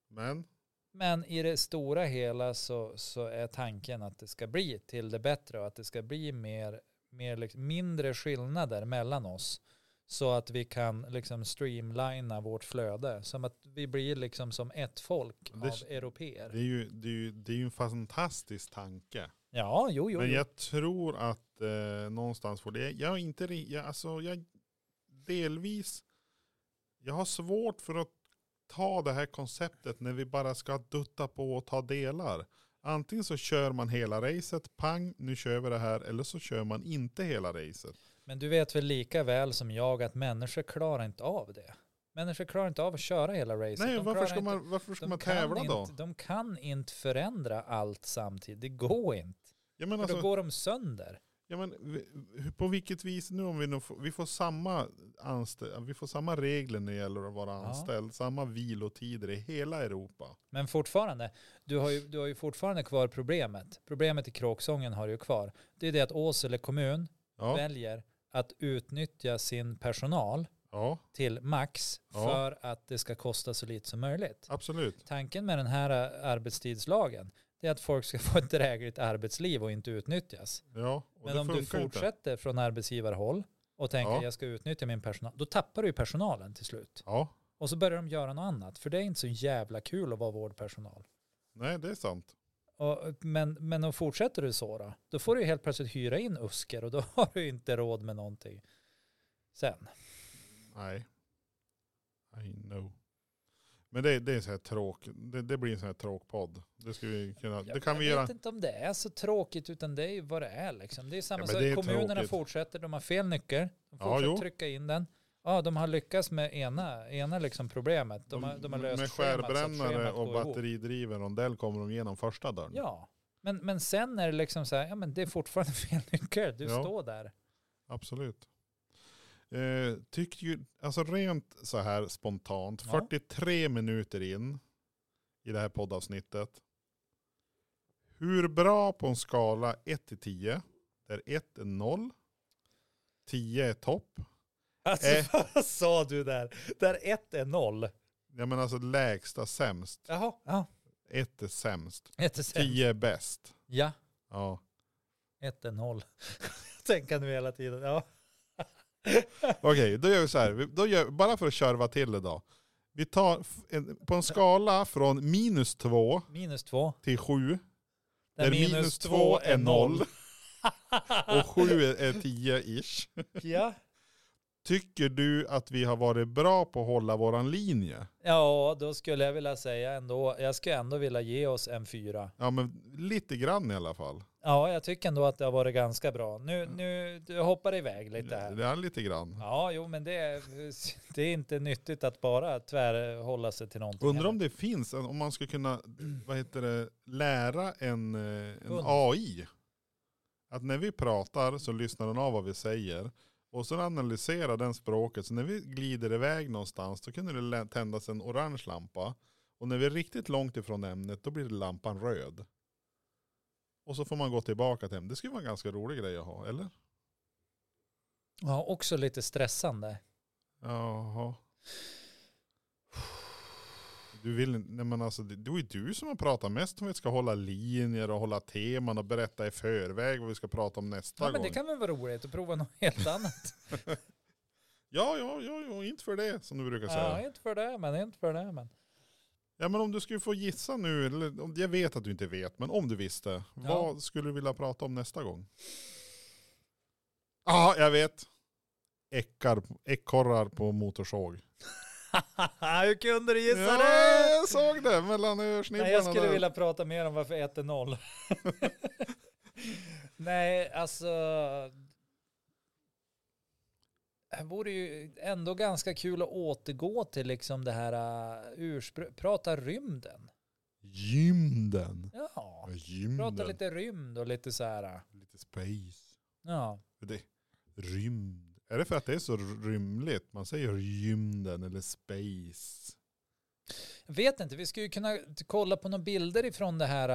[SPEAKER 1] men
[SPEAKER 2] Men i det stora hela så, så är tanken att det ska bli till det bättre och att det ska bli mer, mer, liksom- mindre skillnader mellan oss. Så att vi kan liksom streamlina vårt flöde. Som att vi blir liksom som ett folk
[SPEAKER 1] Det-
[SPEAKER 2] av europeer.
[SPEAKER 1] Det är ju, det är ju, det är ju en fantastisk tanke.
[SPEAKER 2] Ja, jo, jo.
[SPEAKER 1] Men
[SPEAKER 2] jo.
[SPEAKER 1] jag tror att eh, någonstans får det. Jag är inte ri- jag, alltså jag delvis. Jag har svårt för att ta det här konceptet när vi bara ska dutta på och ta delar. Antingen så kör man hela racet, pang, nu kör vi det här, eller så kör man inte hela racet.
[SPEAKER 2] Men du vet väl lika väl som jag att människor klarar inte av det. Människor klarar inte av att köra hela racet.
[SPEAKER 1] Nej,
[SPEAKER 2] De
[SPEAKER 1] varför
[SPEAKER 2] klarar
[SPEAKER 1] ska,
[SPEAKER 2] inte-
[SPEAKER 1] man, varför ska
[SPEAKER 2] de
[SPEAKER 1] man
[SPEAKER 2] kan
[SPEAKER 1] tävla då?
[SPEAKER 2] Inte, de kan inte förändra allt samtidigt. Det går inte.
[SPEAKER 1] Jag menar
[SPEAKER 2] För
[SPEAKER 1] alltså,
[SPEAKER 2] då går de sönder.
[SPEAKER 1] Ja, men, vi- hur- på vilket vis nu om vi nu får, vi får samma anställ, vi får samma regler när det gäller att vara
[SPEAKER 2] Ja.
[SPEAKER 1] anställd, samma vilotider i hela Europa.
[SPEAKER 2] Men fortfarande, du har, ju, du har ju fortfarande kvar problemet. Problemet i kråksången har du ju kvar. Det är det att Åsele kommun
[SPEAKER 1] Ja,
[SPEAKER 2] väljer att utnyttja sin personal
[SPEAKER 1] ja
[SPEAKER 2] till max
[SPEAKER 1] Ja.
[SPEAKER 2] för att det ska kosta så lite som möjligt.
[SPEAKER 1] absolut.
[SPEAKER 2] Tanken med den här ä, arbetstidslagen det är att folk ska få ett drägligt arbetsliv och inte utnyttjas.
[SPEAKER 1] Ja, och
[SPEAKER 2] Men
[SPEAKER 1] det
[SPEAKER 2] om du
[SPEAKER 1] funkar inte.
[SPEAKER 2] fortsätter från arbetsgivarhåll och tänker
[SPEAKER 1] Ja.
[SPEAKER 2] jag ska utnyttja min personal, då tappar du ju personalen till slut.
[SPEAKER 1] Ja,
[SPEAKER 2] Och så börjar de göra något annat, för det är inte så jävla kul att vara vårdpersonal.
[SPEAKER 1] nej det är sant.
[SPEAKER 2] Och, men, men om fortsätter du så då, då får du ju helt plötsligt hyra in usker och då har du ju inte råd med någonting sen.
[SPEAKER 1] Nej. I know. Men det, det är så här tråk, det, det blir en sån här tråkpodd. Det, ska vi kunna, det kan vi
[SPEAKER 2] jag
[SPEAKER 1] göra.
[SPEAKER 2] vet inte om det är så tråkigt utan det är ju vad det är liksom. Det är samma
[SPEAKER 1] Ja, men
[SPEAKER 2] sak,
[SPEAKER 1] det är
[SPEAKER 2] kommunerna
[SPEAKER 1] tråkigt.
[SPEAKER 2] fortsätter, de har fel nyckel, de
[SPEAKER 1] Ja,
[SPEAKER 2] fortsätter
[SPEAKER 1] jo.
[SPEAKER 2] trycka in den. Ja, de har lyckats med ena, ena liksom problemet. De har, de har löst
[SPEAKER 1] med
[SPEAKER 2] schemat så att
[SPEAKER 1] skärbrännare
[SPEAKER 2] schemat
[SPEAKER 1] och
[SPEAKER 2] går ihop.
[SPEAKER 1] batteridriven rondell kommer de igenom första dörren.
[SPEAKER 2] Ja, men, men sen är det liksom så här, ja men det är fortfarande fel nyckel, du
[SPEAKER 1] Ja.
[SPEAKER 2] står där.
[SPEAKER 1] Absolut. Eh, tyckte ju, alltså rent så här spontant,
[SPEAKER 2] Ja.
[SPEAKER 1] 43 minuter in i det här poddavsnittet. Hur bra på en skala 1 till 10, där 1 är 0, 10 är topp.
[SPEAKER 2] Alltså
[SPEAKER 1] Eh.
[SPEAKER 2] vad sa du där? Där ett är noll.
[SPEAKER 1] Ja men alltså lägsta sämst,
[SPEAKER 2] Jaha, ja.
[SPEAKER 1] 1 är sämst,
[SPEAKER 2] Ett är sämst.
[SPEAKER 1] 10 är bäst.
[SPEAKER 2] Ja,
[SPEAKER 1] Ja.
[SPEAKER 2] 1-0. Tänker nu hela tiden. Ja.
[SPEAKER 1] Okej, då gör vi så här, Vi- då gör, bara för att körva till det då. Vi tar f- en, på en skala från minus 2
[SPEAKER 2] Minus 2.
[SPEAKER 1] till 7, Där minus två är noll. Och sju är- är tio ish.
[SPEAKER 2] ja.
[SPEAKER 1] Tycker du att vi har varit bra på att hålla våran linje?
[SPEAKER 2] ja, då skulle jag vilja säga ändå. Jag skulle ändå vilja ge oss en fyra.
[SPEAKER 1] Ja men lite grann i alla fall.
[SPEAKER 2] Ja, jag tycker ändå att det har varit ganska bra. Nu, nu du hoppar det iväg lite här.
[SPEAKER 1] Mm. Det är lite grann.
[SPEAKER 2] Ja, jo, men det är, det är inte nyttigt att bara tvärhålla sig till någonting.
[SPEAKER 1] Undrar om det finns, en- om man skulle kunna, vad heter det, lära en, eh, en
[SPEAKER 2] Hund.
[SPEAKER 1] AI att när vi pratar så lyssnar den av vad vi säger. Och sen analyserar den språket. Så när vi glider iväg någonstans då kunde det lä- tändas en orange lampa. Och när vi är riktigt långt ifrån ämnet då blir lampan röd. Och så får man gå tillbaka till ämnet. Det skulle vara en ganska rolig grej att ha, eller?
[SPEAKER 2] Ja, också lite stressande.
[SPEAKER 1] Jaha. Du vill inte, nej men alltså det det är ju du som har pratat mest om vi ska hålla linjer och hålla teman och berätta i förväg vad vi ska prata om nästa
[SPEAKER 2] Ja, men
[SPEAKER 1] gång.
[SPEAKER 2] det kan väl vara roligt att prova något helt annat.
[SPEAKER 1] Ja, ja, ja, ja, inte för det som du brukar säga.
[SPEAKER 2] ja, inte för det, men inte för det. Men.
[SPEAKER 1] Ja men om du skulle få gissa nu, eller om, jag vet att du inte vet, men om du visste, vad skulle du vilja prata om nästa gång? Ja, ah, jag vet. Äckar, ekorrar på motorsåg.
[SPEAKER 2] Hur kunde du gissa
[SPEAKER 1] Ja,
[SPEAKER 2] det?
[SPEAKER 1] jag såg det mellan örsnibbarna.
[SPEAKER 2] Nej, jag skulle
[SPEAKER 1] där.
[SPEAKER 2] vilja prata mer om varför 1 är 0. Nej, alltså. Det vore ju ändå ganska kul att återgå till liksom det här uh, urspr- prata rymden.
[SPEAKER 1] Gymden.
[SPEAKER 2] Ja,
[SPEAKER 1] Ja, Gymden.
[SPEAKER 2] prata lite rymd och lite så här. uh,
[SPEAKER 1] Lite space.
[SPEAKER 2] Ja,
[SPEAKER 1] Det, rymd. Är det för att det är så rymligt? Man säger gymden eller space.
[SPEAKER 2] jag vet inte. Vi skulle ju kunna t- kolla på några bilder ifrån det här.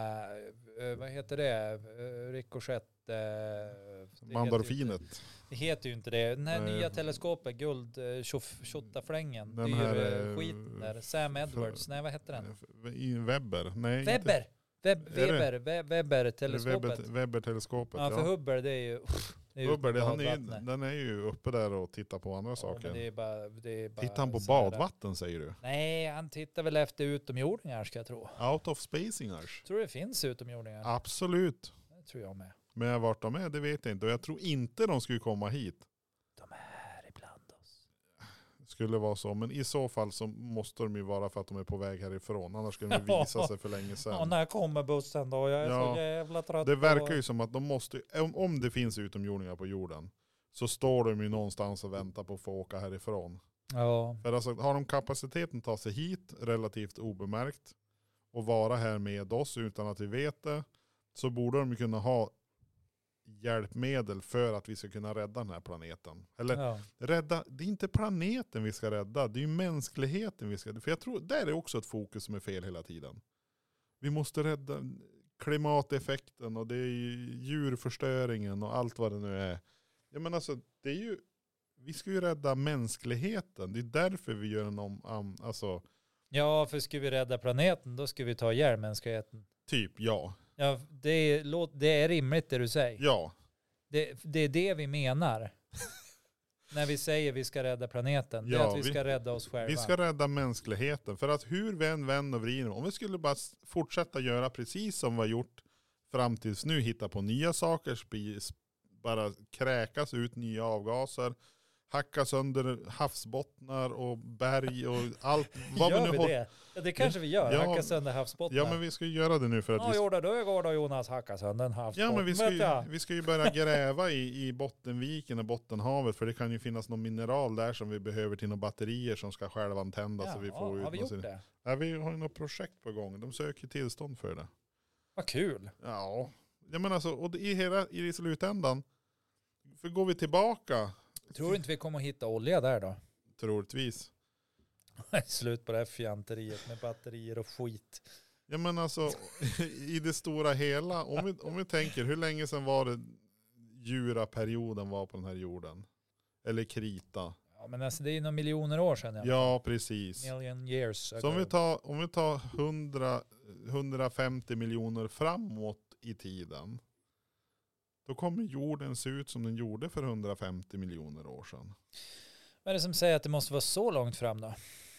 [SPEAKER 2] uh, uh, vad heter det? Uh, Ricochet. äh, Uh, det heter ju-
[SPEAKER 1] Mandorfinet.
[SPEAKER 2] Det heter ju inte det. Den här
[SPEAKER 1] Nej.
[SPEAKER 2] nya teleskopet, guld, eh, tjoff- tjottaflängen. Det är
[SPEAKER 1] Den här,
[SPEAKER 2] ju eh,
[SPEAKER 1] eh,
[SPEAKER 2] skiten där. Sam Edwards,
[SPEAKER 1] för-
[SPEAKER 2] nej vad heter den?
[SPEAKER 1] I Webber. Nej, inte-
[SPEAKER 2] Weber! Web,
[SPEAKER 1] Är det?
[SPEAKER 2] Weber, Web- Weber-teleskopet.
[SPEAKER 1] Webber- Webber-teleskopet.
[SPEAKER 2] ja, för Hubble det är ju... Det är ju
[SPEAKER 1] Hubble, det- han är, ju-
[SPEAKER 2] badvattnet.
[SPEAKER 1] den är ju uppe där och tittar på andra
[SPEAKER 2] Ja, men
[SPEAKER 1] saker.
[SPEAKER 2] det är bara, det är bara
[SPEAKER 1] tittar han på
[SPEAKER 2] så här-
[SPEAKER 1] badvatten säger du?
[SPEAKER 2] Nej, han tittar väl efter utomjordingar ska jag tro.
[SPEAKER 1] Out of spacingars?
[SPEAKER 2] Tror det finns utomjordingar?
[SPEAKER 1] Absolut.
[SPEAKER 2] Det tror jag med.
[SPEAKER 1] Men vart de är det vet jag inte. Och jag tror inte de skulle komma hit.
[SPEAKER 2] De är här ibland oss.
[SPEAKER 1] Skulle vara så. Men i så fall så måste de ju vara för att de är på väg härifrån. Annars skulle de ju visa sig för länge
[SPEAKER 2] Ja,
[SPEAKER 1] sedan.
[SPEAKER 2] när kommer bussen då? Jag är
[SPEAKER 1] Ja,
[SPEAKER 2] så jävla trött.
[SPEAKER 1] Det
[SPEAKER 2] på-
[SPEAKER 1] verkar ju som att de måste, ju- om, om det finns utomjordingar på jorden, så står de ju någonstans och väntar på att få åka härifrån.
[SPEAKER 2] Ja.
[SPEAKER 1] För alltså, har de kapaciteten att ta sig hit relativt obemärkt och vara här med oss utan att vi vet det så borde de ju kunna ha hjälpmedel för att vi ska kunna rädda den här planeten. Eller
[SPEAKER 2] ja.
[SPEAKER 1] rädda, det är inte planeten vi ska rädda, det är ju mänskligheten vi ska För jag tror, där är också ett fokus som är fel hela tiden. Vi måste rädda klimateffekten och det är ju djurförstöringen och allt vad det nu är. Jag menar alltså, det är ju, vi ska ju rädda mänskligheten. Det är därför vi gör en om, am- alltså,
[SPEAKER 2] Ja, för skulle vi rädda planeten då skulle vi ta ihjäl mänskligheten.
[SPEAKER 1] typ ja.
[SPEAKER 2] Ja, det, är- låt, det är rimligt det du säger.
[SPEAKER 1] Ja,
[SPEAKER 2] Det, det är det vi menar. När vi säger vi ska rädda planeten. det är
[SPEAKER 1] Ja,
[SPEAKER 2] att vi,
[SPEAKER 1] vi-
[SPEAKER 2] ska rädda oss själva.
[SPEAKER 1] vi ska rädda mänskligheten. För att hur vi än vänder och vrider om vi skulle bara s- fortsätta göra precis som vi har gjort fram tills nu, hitta på nya saker, spi- s- bara kräkas ut nya avgaser, hacka sönder havsbottnar och berg och allt. Vad
[SPEAKER 2] gör
[SPEAKER 1] vi nu
[SPEAKER 2] vi
[SPEAKER 1] håll-
[SPEAKER 2] det? Ja, det kanske vi gör.
[SPEAKER 1] Ja.
[SPEAKER 2] hacka sönder havsbottnar.
[SPEAKER 1] Ja men vi ska ju göra det nu för att vi
[SPEAKER 2] Ja, gjorde det igår då Jonas. Hacka sönder en havsbotten.
[SPEAKER 1] Ja men vi ska,
[SPEAKER 2] vet jag.
[SPEAKER 1] ju, vi ska ju börja gräva i, i Bottenviken och Bottenhavet för det kan ju finnas någon mineral där som vi behöver till några batterier som ska självantändas.
[SPEAKER 2] ja,
[SPEAKER 1] så vi får ut
[SPEAKER 2] har
[SPEAKER 1] någon
[SPEAKER 2] vi gjort
[SPEAKER 1] sin-
[SPEAKER 2] det?
[SPEAKER 1] Ja, vi har ju något projekt på gång. De söker tillstånd för det.
[SPEAKER 2] Vad kul.
[SPEAKER 1] Ja, jag menar så, och det- i, hela, i slutändan, för går vi tillbaka
[SPEAKER 2] Tror du inte vi kommer att hitta olja där då?
[SPEAKER 1] troligtvis,
[SPEAKER 2] Slut på det här fjanteriet med batterier och skit.
[SPEAKER 1] jag menar så, alltså, i det stora hela, om vi, om vi tänker hur länge sedan var det juraperioden var på den här jorden? Eller krita.
[SPEAKER 2] Ja, men alltså, det är ju några miljoner år sedan. Ja.
[SPEAKER 1] Ja, precis.
[SPEAKER 2] Million years
[SPEAKER 1] Så om vi
[SPEAKER 2] ago.
[SPEAKER 1] tar, om vi tar 100, 150 miljoner framåt i tiden. Då kommer jorden se ut som den gjorde för 150 miljoner år sedan.
[SPEAKER 2] Vad är det som säger att det måste vara så långt fram då?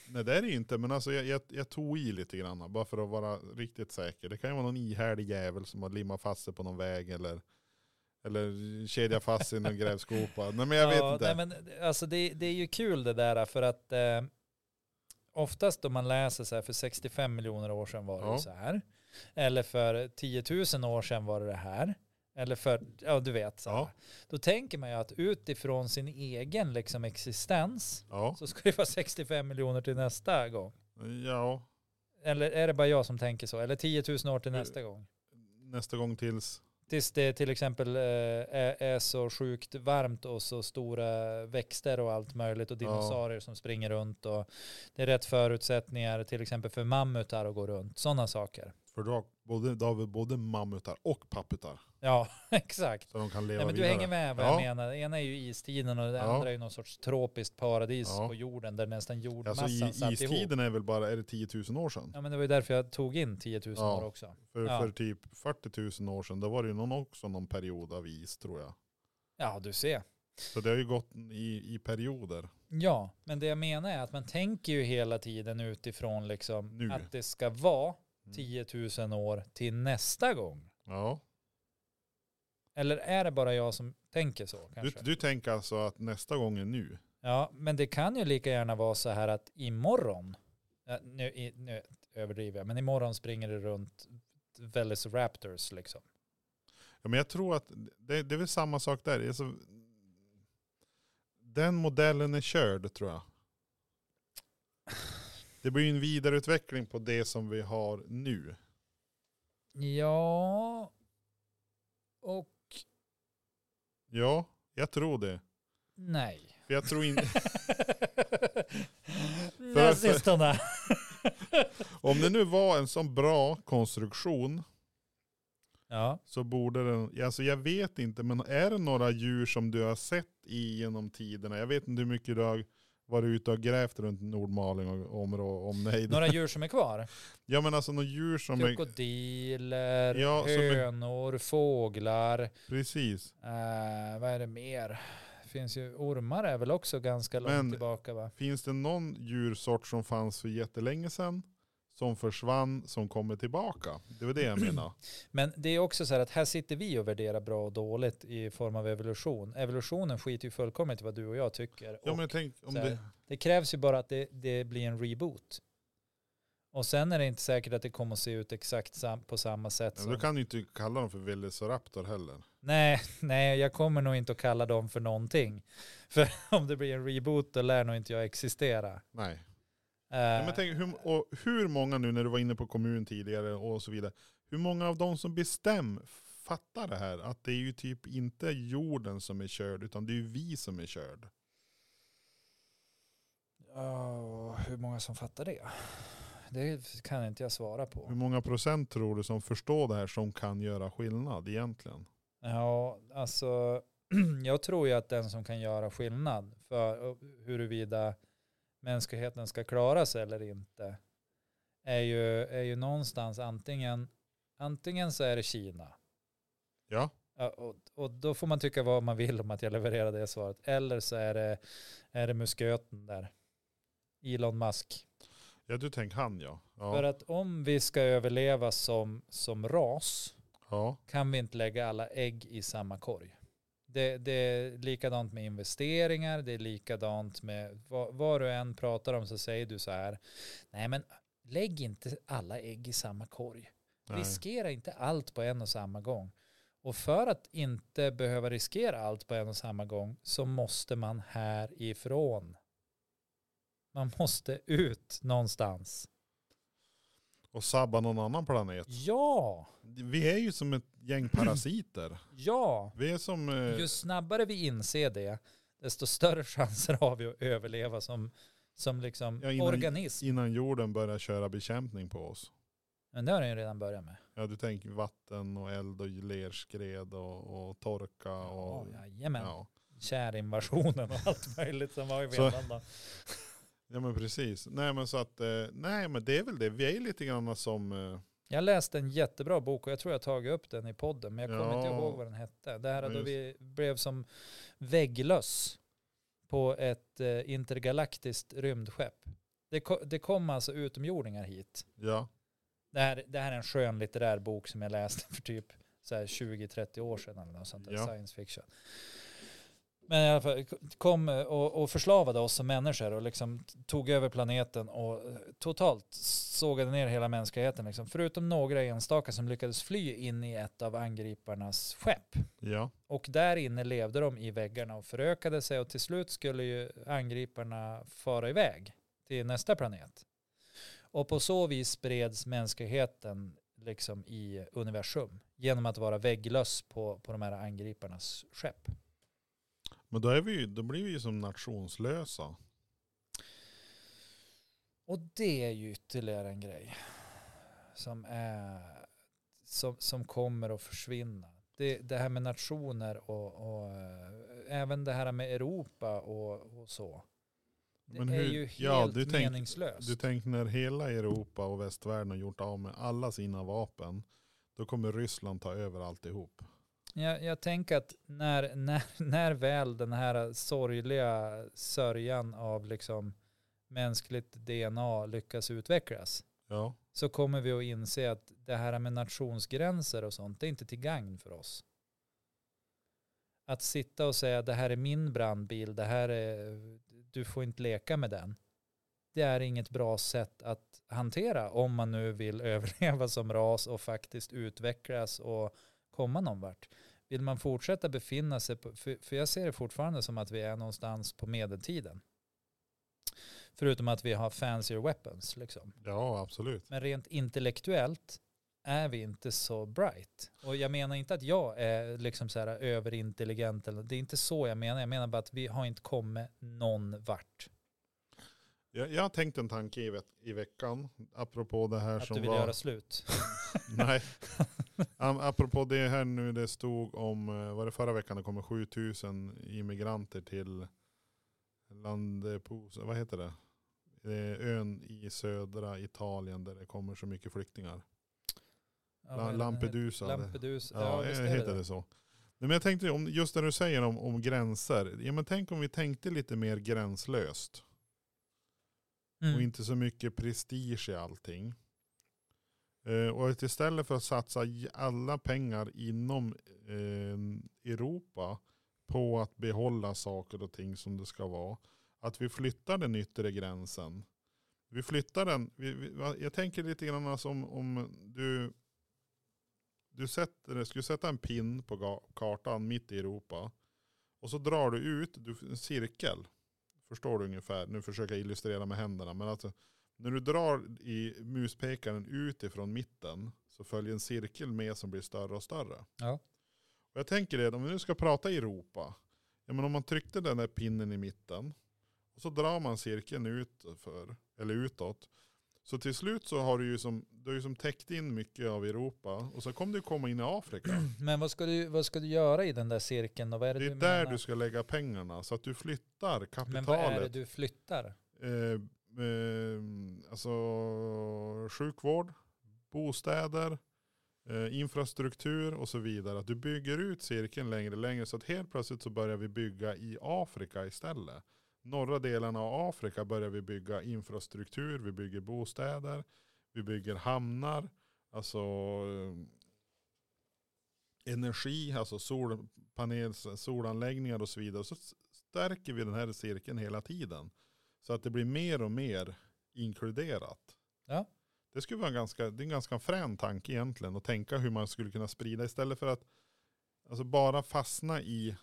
[SPEAKER 1] Nej det är det ju inte, men alltså jag, jag, jag tog i lite grann bara för att vara riktigt säker. Det kan ju vara någon ihärdig jävel som har limmat fast sig på någon väg eller, eller kedjat fast sig i någon grävskopa. Nej men jag vet
[SPEAKER 2] Ja,
[SPEAKER 1] inte.
[SPEAKER 2] Nej, men, alltså, det, det är ju kul det där för att eh, oftast om man läser så här för 65 miljoner år sedan var det
[SPEAKER 1] Ja.
[SPEAKER 2] ju så här. Eller för 10 000 år sedan var det det här. Eller för, ja du vet. Så här.
[SPEAKER 1] Ja.
[SPEAKER 2] Då tänker man ju att utifrån sin egen liksom, existens
[SPEAKER 1] Ja,
[SPEAKER 2] så ska det vara 65 miljoner till nästa gång.
[SPEAKER 1] ja, Eh,
[SPEAKER 2] Eller är det bara jag som tänker så? Eller 10 000 år till nästa gång?
[SPEAKER 1] nästa gång tills.
[SPEAKER 2] tills det till exempel eh, är, är så sjukt varmt och så stora växter och allt möjligt och
[SPEAKER 1] Ja.
[SPEAKER 2] dinosaurier som springer runt och det är rätt förutsättningar till exempel för mammutar att gå runt. Sådana saker.
[SPEAKER 1] För då, har- både, då har vi både mammutar och papputar.
[SPEAKER 2] Ja, exakt.
[SPEAKER 1] Så de kan leva
[SPEAKER 2] Nej, men du
[SPEAKER 1] vidare.
[SPEAKER 2] hänger med vad
[SPEAKER 1] Ja.
[SPEAKER 2] jag menar. Det ena är ju istiden och det
[SPEAKER 1] Ja.
[SPEAKER 2] andra är ju någon sorts tropiskt paradis
[SPEAKER 1] Ja.
[SPEAKER 2] på jorden där nästan
[SPEAKER 1] Alltså
[SPEAKER 2] jordmassan
[SPEAKER 1] i,
[SPEAKER 2] satt ihop.
[SPEAKER 1] istiden är väl bara, är det 10 000 år sedan?
[SPEAKER 2] Ja men det var ju därför jag tog in 10 000
[SPEAKER 1] Ja.
[SPEAKER 2] år också.
[SPEAKER 1] För,
[SPEAKER 2] Ja.
[SPEAKER 1] för typ 40 000 år sedan, då var det ju någon, också någon period av is tror jag.
[SPEAKER 2] Ja du ser.
[SPEAKER 1] Så det har ju gått i, i perioder.
[SPEAKER 2] Ja, men det jag menar är att man tänker ju hela tiden utifrån liksom
[SPEAKER 1] Nu.
[SPEAKER 2] att det ska vara
[SPEAKER 1] Mm.
[SPEAKER 2] 10 000 år till nästa gång.
[SPEAKER 1] Ja.
[SPEAKER 2] Eller är det bara jag som tänker så
[SPEAKER 1] Du,
[SPEAKER 2] kanske?
[SPEAKER 1] du tänker alltså att nästa gång är nu?
[SPEAKER 2] Ja, men det kan ju lika gärna vara så här att imorgon, ja, nu, i- nu överdriver jag, men imorgon springer det runt Velis Raptors liksom.
[SPEAKER 1] Ja, men jag tror att det, det är väl samma sak där. Alltså, den modellen är körd tror jag. Det blir ju en vidareutveckling på det som vi har nu.
[SPEAKER 2] Ja, och
[SPEAKER 1] Ja, jag tror det.
[SPEAKER 2] nej.
[SPEAKER 1] För jag tror inte...
[SPEAKER 2] Nazisterna.
[SPEAKER 1] Om det nu var en sån bra konstruktion
[SPEAKER 2] Ja,
[SPEAKER 1] så borde den, alltså jag vet inte, men är det några djur som du har sett i genom tiderna? Jag vet inte hur mycket du har varit ute och grävt runt Nordmaling och om, om nej.
[SPEAKER 2] några djur som är kvar.
[SPEAKER 1] Ja men alltså några djur som är,
[SPEAKER 2] Krokodiler,
[SPEAKER 1] Ja, som är-
[SPEAKER 2] hönor, fåglar.
[SPEAKER 1] precis.
[SPEAKER 2] Eh, vad är det mer? Finns ju, ormar är väl också ganska långt
[SPEAKER 1] Men-
[SPEAKER 2] tillbaka va?
[SPEAKER 1] Finns det någon djursort som fanns för jättelänge sedan? Som försvann, som kommer tillbaka. Det var det jag menar.
[SPEAKER 2] Men det är också så här att här sitter vi och värderar bra och dåligt i form av evolution. Evolutionen skiter ju fullkomligt i vad du och jag tycker.
[SPEAKER 1] Ja men
[SPEAKER 2] och
[SPEAKER 1] jag tänk, om
[SPEAKER 2] så här,
[SPEAKER 1] det,
[SPEAKER 2] Det krävs ju bara att det, det blir en reboot. Och sen är det inte säkert att det kommer att se ut exakt sam- på samma sätt.
[SPEAKER 1] ja,
[SPEAKER 2] som-
[SPEAKER 1] då kan du inte kalla dem för Velociraptor heller.
[SPEAKER 2] nej, nej, jag kommer nog inte att kalla dem för någonting. För om det blir en reboot då lär nog inte jag existera.
[SPEAKER 1] Nej.
[SPEAKER 2] Eh,
[SPEAKER 1] Ja, men tänk, hur, och hur många nu när du var inne på kommun tidigare och så vidare. Hur många av de som bestämmer fattar det här? Att det är ju typ inte jorden som är körd utan det är ju vi som är körd.
[SPEAKER 2] Ja, hur många som fattar det? Det kan inte jag svara
[SPEAKER 1] Hur
[SPEAKER 2] på.
[SPEAKER 1] många procent tror du som förstår det här som kan göra skillnad egentligen?
[SPEAKER 2] Ja, alltså, jag tror ju att den som kan göra skillnad för huruvida mänskligheten ska klara sig eller inte är ju, är ju någonstans antingen, antingen så är det Kina.
[SPEAKER 1] Ja,
[SPEAKER 2] Ja, Och, och då får man tycka vad man vill om att jag levererar det svaret. Eller så är det, är det musköten där. Elon Musk.
[SPEAKER 1] ja du tänker han ja.
[SPEAKER 2] För
[SPEAKER 1] Ja,
[SPEAKER 2] att om vi ska överleva som, som ras
[SPEAKER 1] ja.
[SPEAKER 2] kan vi inte lägga alla ägg i samma korg. Det, det är likadant med investeringar, det är likadant med vad, vad du än pratar om så säger du så här, nej men lägg inte alla ägg i samma korg.
[SPEAKER 1] Nej.
[SPEAKER 2] Riskera inte allt på en och samma gång. Och för att inte behöva riskera allt på en och samma gång så måste man härifrån. Man måste ut någonstans.
[SPEAKER 1] Och sabba någon annan planet.
[SPEAKER 2] Ja,
[SPEAKER 1] Vi är ju som ett gäng parasiter.
[SPEAKER 2] ja.
[SPEAKER 1] Vi är som... eh,
[SPEAKER 2] Ju snabbare vi inser det, desto större chanser har vi att överleva som, som liksom
[SPEAKER 1] Ja, innan-
[SPEAKER 2] organism.
[SPEAKER 1] Innan jorden börjar köra bekämpning på oss.
[SPEAKER 2] Men det har den ju redan börjat med.
[SPEAKER 1] Ja, du tänker vatten och eld och lerskred och, och torka och...
[SPEAKER 2] Ja, jajamän.
[SPEAKER 1] Ja.
[SPEAKER 2] Kärinvasionen och allt möjligt som var i
[SPEAKER 1] Så-
[SPEAKER 2] Finland. då.
[SPEAKER 1] ja men precis. Nej men så att, eh, nej men det är väl det. Vi är lite grann som, eh,
[SPEAKER 2] Jag läste en jättebra bok och jag tror jag tagit upp den i podden, men jag kommer
[SPEAKER 1] Ja.
[SPEAKER 2] inte ihåg vad den hette. Det här
[SPEAKER 1] Ja,
[SPEAKER 2] då
[SPEAKER 1] just.
[SPEAKER 2] vi blev som vägglöss på ett eh, intergalaktiskt rymdskepp. Det, ko- det kom alltså utomjordingar hit.
[SPEAKER 1] ja,
[SPEAKER 2] Det här, det här är en skön litterär bok som jag läste för typ så här 20-30 år sedan eller något sånt där,
[SPEAKER 1] Ja.
[SPEAKER 2] science fiction. Men i alla fall, kom och, och förslavade oss som människor och liksom tog över planeten och eh, totalt sågade ner hela mänskligheten. Liksom. Förutom några enstaka som lyckades fly in i ett av angriparnas skepp.
[SPEAKER 1] ja,
[SPEAKER 2] Och där inne levde de i väggarna och förökade sig och till slut skulle ju angriparna fara iväg till nästa planet. Och på så vis spreds mänskligheten liksom i universum genom att vara vägglöss på, på de här angriparnas skepp.
[SPEAKER 1] Men då, är vi, ju- då blir vi ju som nationslösa.
[SPEAKER 2] Och det är ju ytterligare en grej som, är, som, som kommer att försvinna. Det, det här med nationer och, och eh, även det här med Europa och, och så. Det
[SPEAKER 1] Men
[SPEAKER 2] är
[SPEAKER 1] hur-
[SPEAKER 2] ju helt
[SPEAKER 1] ja, du tänk-
[SPEAKER 2] meningslöst.
[SPEAKER 1] Du tänker när hela Europa och västvärlden har gjort av med alla sina vapen, då kommer Ryssland ta över alltihop.
[SPEAKER 2] Jag, jag tänker att när, när, när väl den här sorgliga sörjan av liksom mänskligt DNA lyckas utvecklas
[SPEAKER 1] Ja,
[SPEAKER 2] så kommer vi att inse att det här med nationsgränser och sånt, det är inte till gagn för oss. Att sitta och säga det här är min brandbil, det här är, du får inte leka med den. Det är inget bra sätt att hantera om man nu vill överleva som ras och faktiskt utvecklas och komma någon vart. Vill man fortsätta befinna sig på, för, för jag ser det fortfarande som att vi är någonstans på medeltiden. Förutom att vi har fancier weapons liksom.
[SPEAKER 1] ja absolut.
[SPEAKER 2] Men rent intellektuellt är vi inte så bright. Och jag menar inte att jag är liksom så här överintelligent. Eller, det är inte så jag menar. Jag menar bara att vi har inte kommit någon vart.
[SPEAKER 1] Jag, jag har tänkt en tanke i, ve i veckan, apropå det här
[SPEAKER 2] Att
[SPEAKER 1] som
[SPEAKER 2] du vill
[SPEAKER 1] var...
[SPEAKER 2] göra slut.
[SPEAKER 1] Nej. Am- Apropå det här nu, det stod om, eh, var det förra veckan, det kommer 7000 immigranter till Landepos, vad heter det? det är ön i södra Italien där det kommer så mycket flyktingar. La-
[SPEAKER 2] Ja, vad är den här?
[SPEAKER 1] Lampedusa. eller-
[SPEAKER 2] Lampedusa. Ja,
[SPEAKER 1] Ja,
[SPEAKER 2] visst
[SPEAKER 1] ja
[SPEAKER 2] är det
[SPEAKER 1] heter
[SPEAKER 2] det.
[SPEAKER 1] det så. Nej, Men jag tänkte, om, just när du säger om, om gränser, ja, men tänk om vi tänkte lite mer gränslöst. och
[SPEAKER 2] Mm.
[SPEAKER 1] inte så mycket prestige i allting. Eh, och att istället för att satsa j- alla pengar inom eh, Europa på att behålla saker och ting som det ska vara, att vi flyttar den yttre gränsen. Vi flyttar den, vi, vi, va- jag tänker lite grann alltså om, om du, du sätter, skulle sätta en pin på ga- kartan mitt i Europa och så drar du ut du, en cirkel. Förstår du ungefär? Nu försöker jag illustrera med händerna. Men alltså, när du drar i muspekaren ut ifrån mitten så följer en cirkel med som blir större och större.
[SPEAKER 2] Ja.
[SPEAKER 1] Och jag tänker det, om vi nu ska prata Europa. Ja, men om man tryckte den där pinnen i mitten och så drar man cirkeln utför, eller utåt. Så till slut så har du ju som, du har ju som täckt in mycket av Europa och så kommer du komma in i Afrika.
[SPEAKER 2] Men vad ska, du, vad ska du göra i den där cirkeln? Och vad är det,
[SPEAKER 1] Det är
[SPEAKER 2] du
[SPEAKER 1] där
[SPEAKER 2] menar?
[SPEAKER 1] du ska lägga pengarna så att du flyttar kapitalet.
[SPEAKER 2] Men vad är det du flyttar?
[SPEAKER 1] eh, eh, alltså sjukvård, bostäder, eh, infrastruktur och så vidare. Att du bygger ut cirkeln längre och längre så att helt plötsligt så börjar vi bygga i Afrika istället. Norra delarna av Afrika börjar vi bygga infrastruktur, vi bygger bostäder, vi bygger hamnar, alltså eh, energi, alltså solpanel, solanläggningar och så vidare. Så stärker vi den här cirkeln hela tiden. Så att det blir mer och mer inkluderat.
[SPEAKER 2] Ja.
[SPEAKER 1] Det skulle vara en ganska, det är en ganska frän tanke egentligen att tänka hur man skulle kunna sprida istället för att alltså bara fastna i,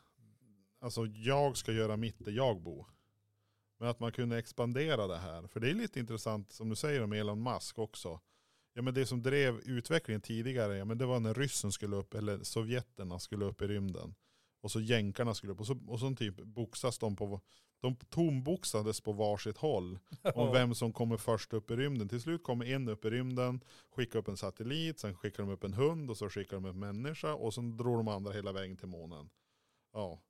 [SPEAKER 1] alltså jag ska göra mitt där jag bor. Men att man kunde expandera det här. För det är lite intressant som du säger om Elon Musk också. Ja men det som drev utvecklingen tidigare, ja, men det var när ryssen skulle upp, eller sovjeterna skulle upp i rymden. Och så jänkarna skulle upp. Och så, och så typ boxas de på, de tomboxades på varsitt håll om vem som kommer först upp i rymden. Till slut kommer en upp i rymden, skickar upp en satellit, sen skickar de upp en hund och så skickar de upp en människa och sen drog de andra hela vägen till månen. Ja.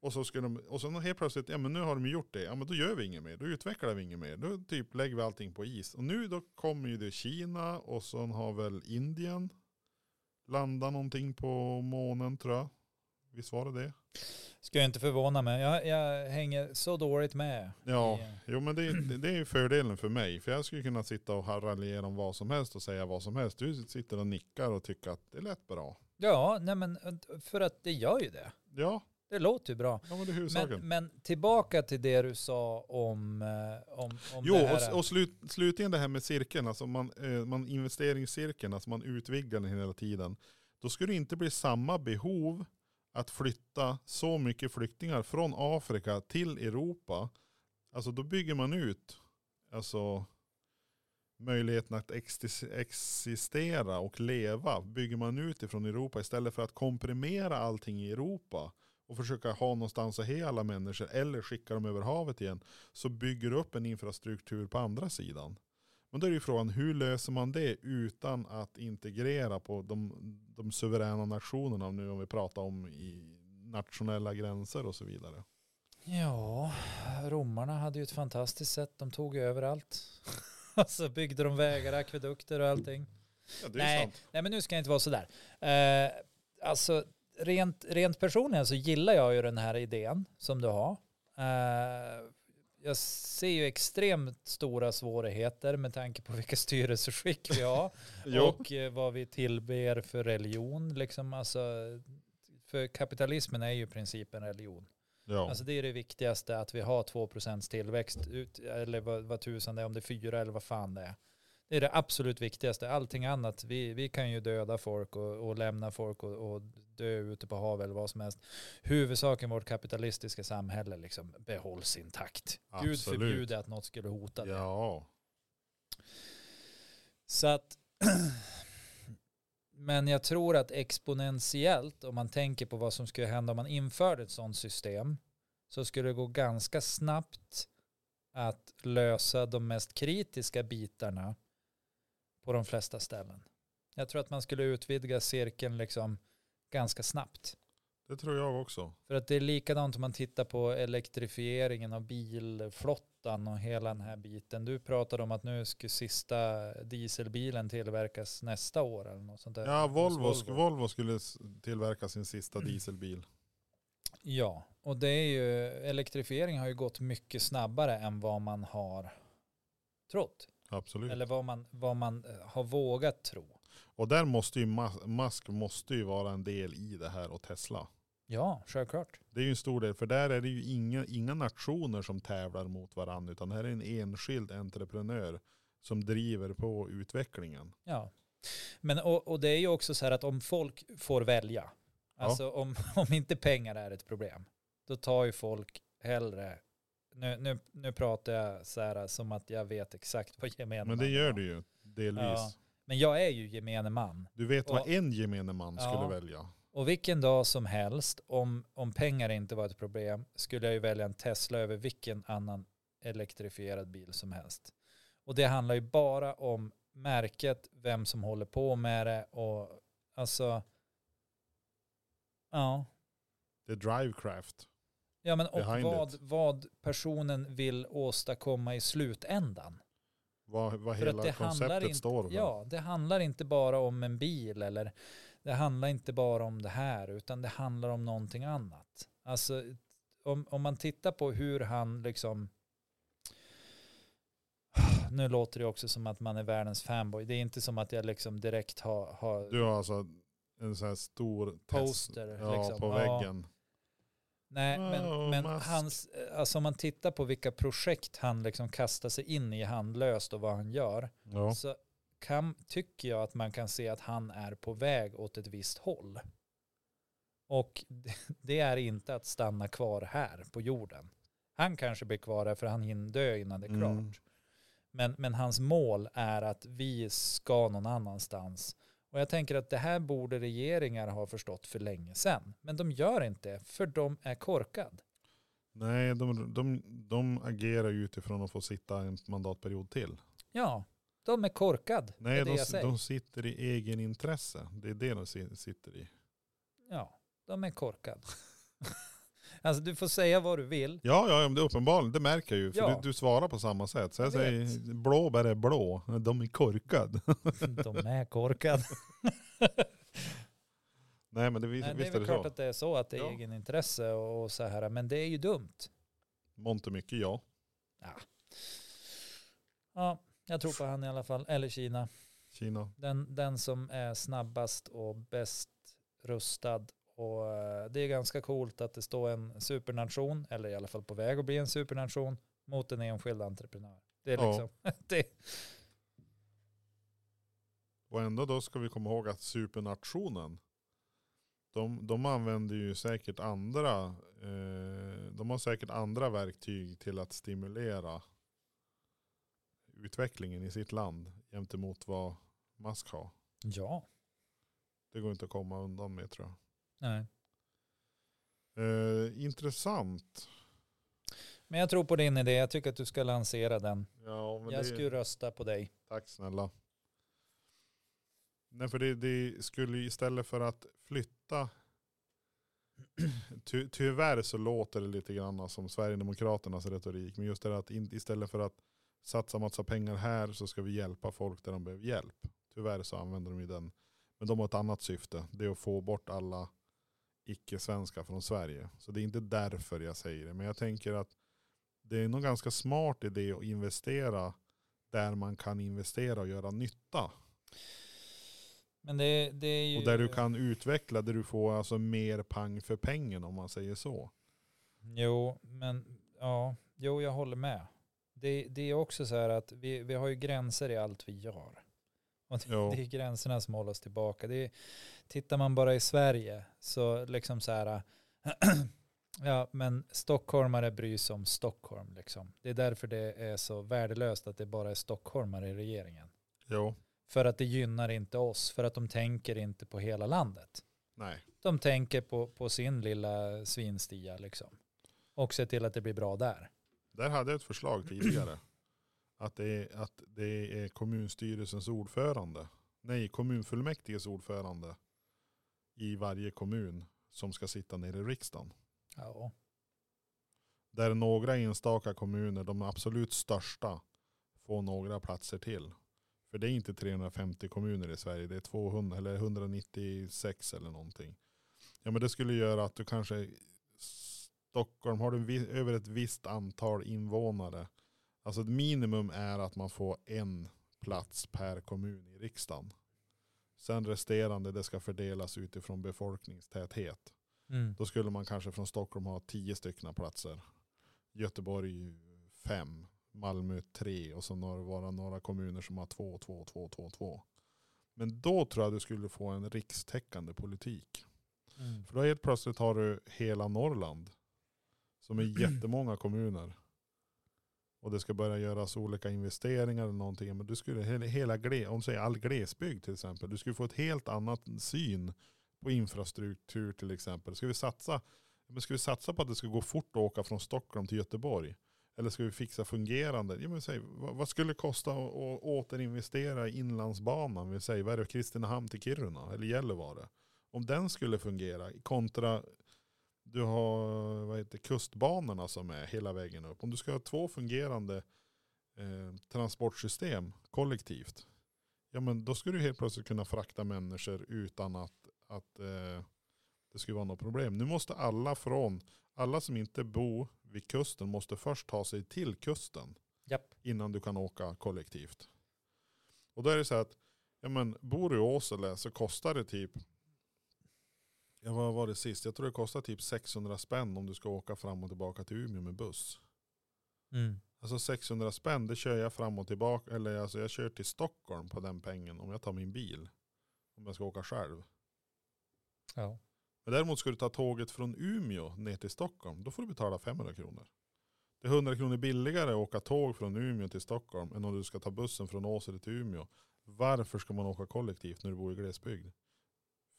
[SPEAKER 1] Och så skulle de, och sen helt plötsligt, ja men nu har de gjort det, ja men då gör vi inget mer, då utvecklar vi inget mer, då typ lägger vi allting på is. Och nu då kommer ju det Kina och sen har väl Indien landat någonting på månen tror jag. Visst var det det?
[SPEAKER 2] Ska jag inte förvåna mig. Jag, jag hänger så dåligt med.
[SPEAKER 1] Ja.
[SPEAKER 2] i-
[SPEAKER 1] Jo men det, det- det är ju fördelen för mig. För jag skulle kunna sitta och raljera om vad som helst och säga vad som helst. Du sitter och nickar och tycker att det lät bra.
[SPEAKER 2] Ja, nej men för att det gör ju det.
[SPEAKER 1] Ja,
[SPEAKER 2] Det låter ju bra.
[SPEAKER 1] ja men det är huvudsaken.
[SPEAKER 2] Men, men tillbaka till det du sa om, eh, om, om
[SPEAKER 1] Jo
[SPEAKER 2] det här.
[SPEAKER 1] och, och slut, slutligen det här med cirkeln. Alltså man, eh, man investeringscirkeln, alltså man utvidgar den hela tiden. Då skulle det inte bli samma behov att flytta så mycket flyktingar från Afrika till Europa. Alltså då bygger man ut. Alltså möjligheten att exis- existera och leva bygger man ut ifrån Europa istället för att komprimera allting i Europa och försöka ha någonstans att ha alla människor eller skicka dem över havet igen så bygger du upp en infrastruktur på andra sidan. Men då är ju frågan hur löser man det utan att integrera på de, de suveräna nationerna nu om vi pratar om i nationella gränser och så vidare.
[SPEAKER 2] Ja, romarna hade ju ett fantastiskt sätt. De tog ju överallt. alltså byggde de vägar, akvedukter och allting.
[SPEAKER 1] Ja, det är
[SPEAKER 2] Nej.
[SPEAKER 1] sant.
[SPEAKER 2] Nej men nu ska jag inte vara sådär. Eh, alltså rent, rent personligen så gillar jag ju den här idén som du har. Eh, jag ser ju extremt stora svårigheter med tanke på vilka styrelseskick vi har.
[SPEAKER 1] Jo,
[SPEAKER 2] Och eh, vad vi tillber för religion. Liksom, alltså, för kapitalismen är ju i princip en religion.
[SPEAKER 1] ja.
[SPEAKER 2] Alltså det är det viktigaste, att vi har 2% tillväxt, ut, eller vad, vad tusan det är, om det är 4 eller vad fan det är. Det är det absolut viktigaste. Allting annat, vi, vi kan ju döda folk och, och lämna folk och, och dö ute på havet eller vad som helst. Huvudsaken vårt kapitalistiska samhälle liksom behålls intakt. Gud
[SPEAKER 1] Absolut.
[SPEAKER 2] förbjude att något skulle hota det.
[SPEAKER 1] ja.
[SPEAKER 2] Så att, men jag tror att exponentiellt, om man tänker på vad som skulle hända om man införde ett sådant system, så skulle det gå ganska snabbt att lösa de mest kritiska bitarna på de flesta ställen. Jag tror att man skulle utvidga cirkeln liksom ganska snabbt.
[SPEAKER 1] Det tror jag också.
[SPEAKER 2] För att det är likadant om man tittar på elektrifieringen av bilflottan och hela den här biten. Du pratade om att nu skulle sista dieselbilen tillverkas nästa år eller något sånt där.
[SPEAKER 1] Ja,
[SPEAKER 2] Hos Mm.
[SPEAKER 1] Volvo, sk- Volvo skulle s- tillverka sin sista dieselbil.
[SPEAKER 2] Ja, och det är ju, elektrifiering har ju gått mycket snabbare än vad man har trott.
[SPEAKER 1] Absolut.
[SPEAKER 2] Eller vad man, vad man eh, har vågat tro.
[SPEAKER 1] Och där måste ju Mas- Musk måste ju vara en del i det här och Tesla.
[SPEAKER 2] Ja, självklart.
[SPEAKER 1] Det är ju en stor del, för där är det ju inga, inga nationer som tävlar mot varandra, utan här är en enskild entreprenör som driver på utvecklingen.
[SPEAKER 2] Ja. Men, och, och det är ju också så här att om folk får välja,
[SPEAKER 1] Ja.
[SPEAKER 2] alltså om, om inte pengar är ett problem, då tar ju folk hellre, nu, nu, nu pratar jag så här som att jag vet exakt vad gemene
[SPEAKER 1] Men
[SPEAKER 2] man
[SPEAKER 1] det gör
[SPEAKER 2] är.
[SPEAKER 1] du ju, delvis.
[SPEAKER 2] Ja. Men jag är ju gemene man.
[SPEAKER 1] Du vet vad
[SPEAKER 2] Och-
[SPEAKER 1] en gemene man skulle
[SPEAKER 2] Ja.
[SPEAKER 1] välja.
[SPEAKER 2] Och vilken dag som helst, om, om pengar inte var ett problem, skulle jag ju välja en Tesla över vilken annan elektrifierad bil som helst. Och det handlar ju bara om märket, vem som håller på med det och alltså, ja.
[SPEAKER 1] Det är drivecraft.
[SPEAKER 2] Ja men och
[SPEAKER 1] Behind
[SPEAKER 2] vad,
[SPEAKER 1] it.
[SPEAKER 2] vad personen vill åstadkomma i slutändan.
[SPEAKER 1] Vad, vad
[SPEAKER 2] För att
[SPEAKER 1] hela
[SPEAKER 2] det handlar
[SPEAKER 1] konceptet
[SPEAKER 2] inte-
[SPEAKER 1] står för.
[SPEAKER 2] Ja, det handlar inte bara om en bil eller det handlar inte bara om det här utan det handlar om någonting annat. Alltså om, om man tittar på hur han liksom nu låter det också som att man är världens fanboy. Det är inte som att jag liksom direkt har, har
[SPEAKER 1] Du har alltså en sån här stor test-
[SPEAKER 2] Poster,
[SPEAKER 1] ja,
[SPEAKER 2] liksom.
[SPEAKER 1] på
[SPEAKER 2] Ja.
[SPEAKER 1] väggen.
[SPEAKER 2] Nej,
[SPEAKER 1] Wow,
[SPEAKER 2] men, men
[SPEAKER 1] Musk.
[SPEAKER 2] hans, alltså om man tittar på vilka projekt han liksom kastar sig in i handlöst och vad han gör,
[SPEAKER 1] Ja.
[SPEAKER 2] så kan, tycker jag att man kan se att han är på väg åt ett visst håll. Och det- det är inte att stanna kvar här på jorden. Han kanske blir kvar här för han hinner dö innan det är klart.
[SPEAKER 1] Mm.
[SPEAKER 2] Men, men hans mål är att vi ska någon annanstans. Och jag tänker att det här borde regeringar ha förstått för länge sedan. Men de gör inte det, för de är korkad.
[SPEAKER 1] Nej, de, de, de agerar ju utifrån att få sitta en mandatperiod till.
[SPEAKER 2] Ja, de är korkad. det
[SPEAKER 1] Nej,
[SPEAKER 2] är det
[SPEAKER 1] de,
[SPEAKER 2] jag säger.
[SPEAKER 1] de sitter i egen intresse. Det är det de si- sitter i.
[SPEAKER 2] Ja, de är korkad. alltså du får säga vad du vill.
[SPEAKER 1] Ja, ja, ja, men det är uppenbarligen. Det märker jag ju. För
[SPEAKER 2] Ja.
[SPEAKER 1] du, du svarar på samma sätt. Så jag,
[SPEAKER 2] Jag
[SPEAKER 1] säger, blåbär är blå. De är korkad.
[SPEAKER 2] De är korkad.
[SPEAKER 1] Nej, men det, vis,
[SPEAKER 2] Nej, det är
[SPEAKER 1] visst är
[SPEAKER 2] väl
[SPEAKER 1] det
[SPEAKER 2] klart
[SPEAKER 1] så.
[SPEAKER 2] att det är så att det är
[SPEAKER 1] Ja.
[SPEAKER 2] egenintresse och, och så här. Men det är ju dumt.
[SPEAKER 1] Mångt och mycket, ja.
[SPEAKER 2] Ja, jag tror på han i alla fall. Eller Kina.
[SPEAKER 1] Kina.
[SPEAKER 2] Den, den som är snabbast och bäst rustad. Och eh, det är ganska coolt att det står en supernation, eller i alla fall på väg att bli en supernation, mot en enskild entreprenör. Det är
[SPEAKER 1] Ja.
[SPEAKER 2] liksom, det,
[SPEAKER 1] Och ändå då ska vi komma ihåg att supernationen, de, de använder ju säkert andra, eh, de har säkert andra verktyg till att stimulera utvecklingen i sitt land gentemot vad Musk har.
[SPEAKER 2] Ja.
[SPEAKER 1] Det går inte att komma undan med tror jag.
[SPEAKER 2] Nej.
[SPEAKER 1] Eh, intressant.
[SPEAKER 2] Men jag tror på din idé. Jag tycker att du ska lansera den.
[SPEAKER 1] Ja, men
[SPEAKER 2] jag
[SPEAKER 1] det,
[SPEAKER 2] skulle rösta på dig.
[SPEAKER 1] Tack snälla. Nej, för det, det skulle ju istället för att flytta, ty, tyvärr så låter det lite grann som Sverigedemokraternas retorik, men just det där att in, istället för att satsa massa pengar här så ska vi hjälpa folk där de behöver hjälp. Tyvärr så använder de ju den. Men de har ett annat syfte, det är att få bort alla icke-svenskar från Sverige. Så det är inte därför jag säger det, men jag tänker att det är nog ganska smart idé att investera där man kan investera och göra nytta.
[SPEAKER 2] Men det, det är ju...
[SPEAKER 1] Och där du kan utveckla, där du får alltså mer pang för pengen om man säger så.
[SPEAKER 2] Jo, men ja, jo, jag håller med. Det, det är också så här att vi, vi har ju gränser i allt vi gör. Och det,
[SPEAKER 1] Jo.
[SPEAKER 2] det är gränserna som håller oss tillbaka. Det är, tittar man bara i Sverige så liksom så här, ja men stockholmare bryr sig om Stockholm liksom. Det är därför det är så värdelöst att det bara är stockholmare i regeringen.
[SPEAKER 1] Jo.
[SPEAKER 2] För att det gynnar inte oss, för att de tänker inte på hela landet
[SPEAKER 1] Nej.
[SPEAKER 2] de tänker på, på sin lilla svinstia liksom. Och se till att det blir bra där.
[SPEAKER 1] Där hade jag ett förslag tidigare. Att det, är, att det är kommunstyrelsens ordförande, nej kommunfullmäktiges ordförande i varje kommun som ska sitta nere i riksdagen.
[SPEAKER 2] Ja.
[SPEAKER 1] Där några enstaka kommuner, de absolut största, får några platser till. För det är inte 350 kommuner i Sverige, det är 200 eller 196 eller någonting. Ja men det skulle göra att du kanske, Stockholm, har du en vi- över ett visst antal invånare. Alltså ett minimum är att man får en plats per kommun i riksdagen. Sen resterande, det ska fördelas utifrån befolkningstäthet.
[SPEAKER 2] Mm.
[SPEAKER 1] Då skulle man kanske från Stockholm ha tio stycken platser. Göteborg fem, Malmö tre och så några, vara några kommuner som har två, två, två, två, två. Men då tror jag du skulle få en rikstäckande politik.
[SPEAKER 2] Mm.
[SPEAKER 1] För då helt plötsligt har du hela Norrland som är jättemånga kommuner. Och det ska börja göras olika investeringar eller någonting. Men du skulle hela, hela gle, om du säger all glesbygd till exempel. Du skulle få ett helt annat syn på infrastruktur till exempel. Ska vi satsa, men ska vi satsa på att det ska gå fort att åka från Stockholm till Göteborg? Eller ska vi fixa fungerande? Ja, men säg, vad, vad skulle det kosta att, att återinvestera i inlandsbanan? Vi säger, vad är det, Kristinehamn till Kiruna eller Gällivare? om den skulle fungera kontra du har vad heter, kustbanorna som är hela vägen upp. Om du ska ha två fungerande eh, transportsystem kollektivt, ja men då skulle du helt plötsligt kunna frakta människor utan att, att eh, det skulle vara något problem. Nu måste alla från, alla som inte bor vid kusten måste först ta sig till kusten
[SPEAKER 2] Japp.
[SPEAKER 1] innan du kan åka kollektivt. Och då är det så här att, ja men bor du i Åsele så kostar det typ, ja vad var det sist? Jag tror det kostar typ 600 spänn om du ska åka fram och tillbaka till Umeå med buss.
[SPEAKER 2] Mm.
[SPEAKER 1] Alltså 600 spänn, det kör jag fram och tillbaka, eller alltså jag kör till Stockholm på den pengen om jag tar min bil. Om jag ska åka själv.
[SPEAKER 2] Ja.
[SPEAKER 1] Men däremot ska du ta tåget från Umeå ner till Stockholm, då får du betala 500 kronor. Det är 100 kronor billigare att åka tåg från Umeå till Stockholm än om du ska ta bussen från Åsele till Umeå. Varför ska man åka kollektivt när du bor i glesbygd?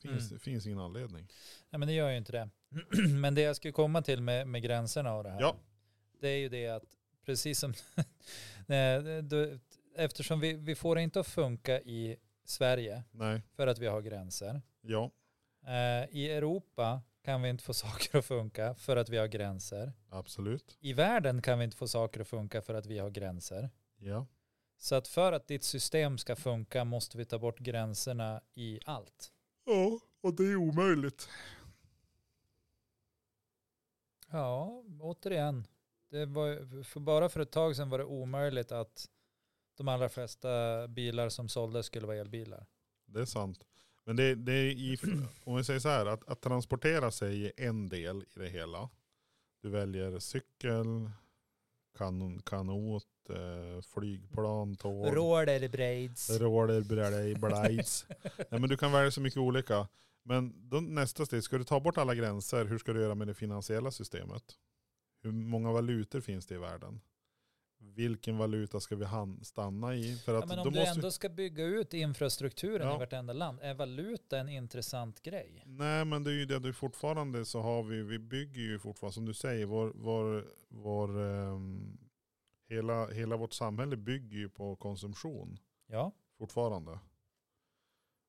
[SPEAKER 1] Finns,
[SPEAKER 2] Mm.
[SPEAKER 1] finns ingen anledning.
[SPEAKER 2] Nej men det gör ju inte det. men det jag skulle komma till med, med gränserna och det här.
[SPEAKER 1] Ja.
[SPEAKER 2] Det är ju det att precis som, Nej, det- du, eftersom vi, vi får det inte att funka i Sverige
[SPEAKER 1] Nej,
[SPEAKER 2] för att vi har gränser.
[SPEAKER 1] ja,
[SPEAKER 2] Eh, I Europa kan vi inte få saker att funka för att vi har gränser.
[SPEAKER 1] absolut.
[SPEAKER 2] I världen kan vi inte få saker att funka för att vi har gränser.
[SPEAKER 1] Ja,
[SPEAKER 2] Så att för att ditt system ska funka måste vi ta bort gränserna i allt.
[SPEAKER 1] ja och det är omöjligt.
[SPEAKER 2] Ja, återigen. Det var, för bara för ett tag sedan var det omöjligt att de allra flesta bilar som såldes skulle vara elbilar.
[SPEAKER 1] Det är sant. Men det, det är i, om vi säger så här, att, att transportera sig är en del i det hela. Du väljer cykel, kanon, kanot, eh, flygplan, tåg.
[SPEAKER 2] Roller braids.
[SPEAKER 1] Roller, brädej, blajs. Nej men du kan välja så mycket olika. Men då, nästa steg, ska du ta bort alla gränser, hur ska du göra med det finansiella systemet? Hur många valutor finns det i världen? vilken valuta ska vi han- stanna i? För
[SPEAKER 2] Ja,
[SPEAKER 1] att
[SPEAKER 2] men
[SPEAKER 1] då
[SPEAKER 2] om du
[SPEAKER 1] måste
[SPEAKER 2] ändå ska bygga ut infrastrukturen
[SPEAKER 1] Ja.
[SPEAKER 2] i vartenda land, är valuta en intressant grej?
[SPEAKER 1] Nej, men det är ju det du fortfarande så har vi, vi bygger ju fortfarande, som du säger, vår, vår, vår ehm, hela, hela vårt samhälle bygger ju på konsumtion
[SPEAKER 2] Ja,
[SPEAKER 1] fortfarande.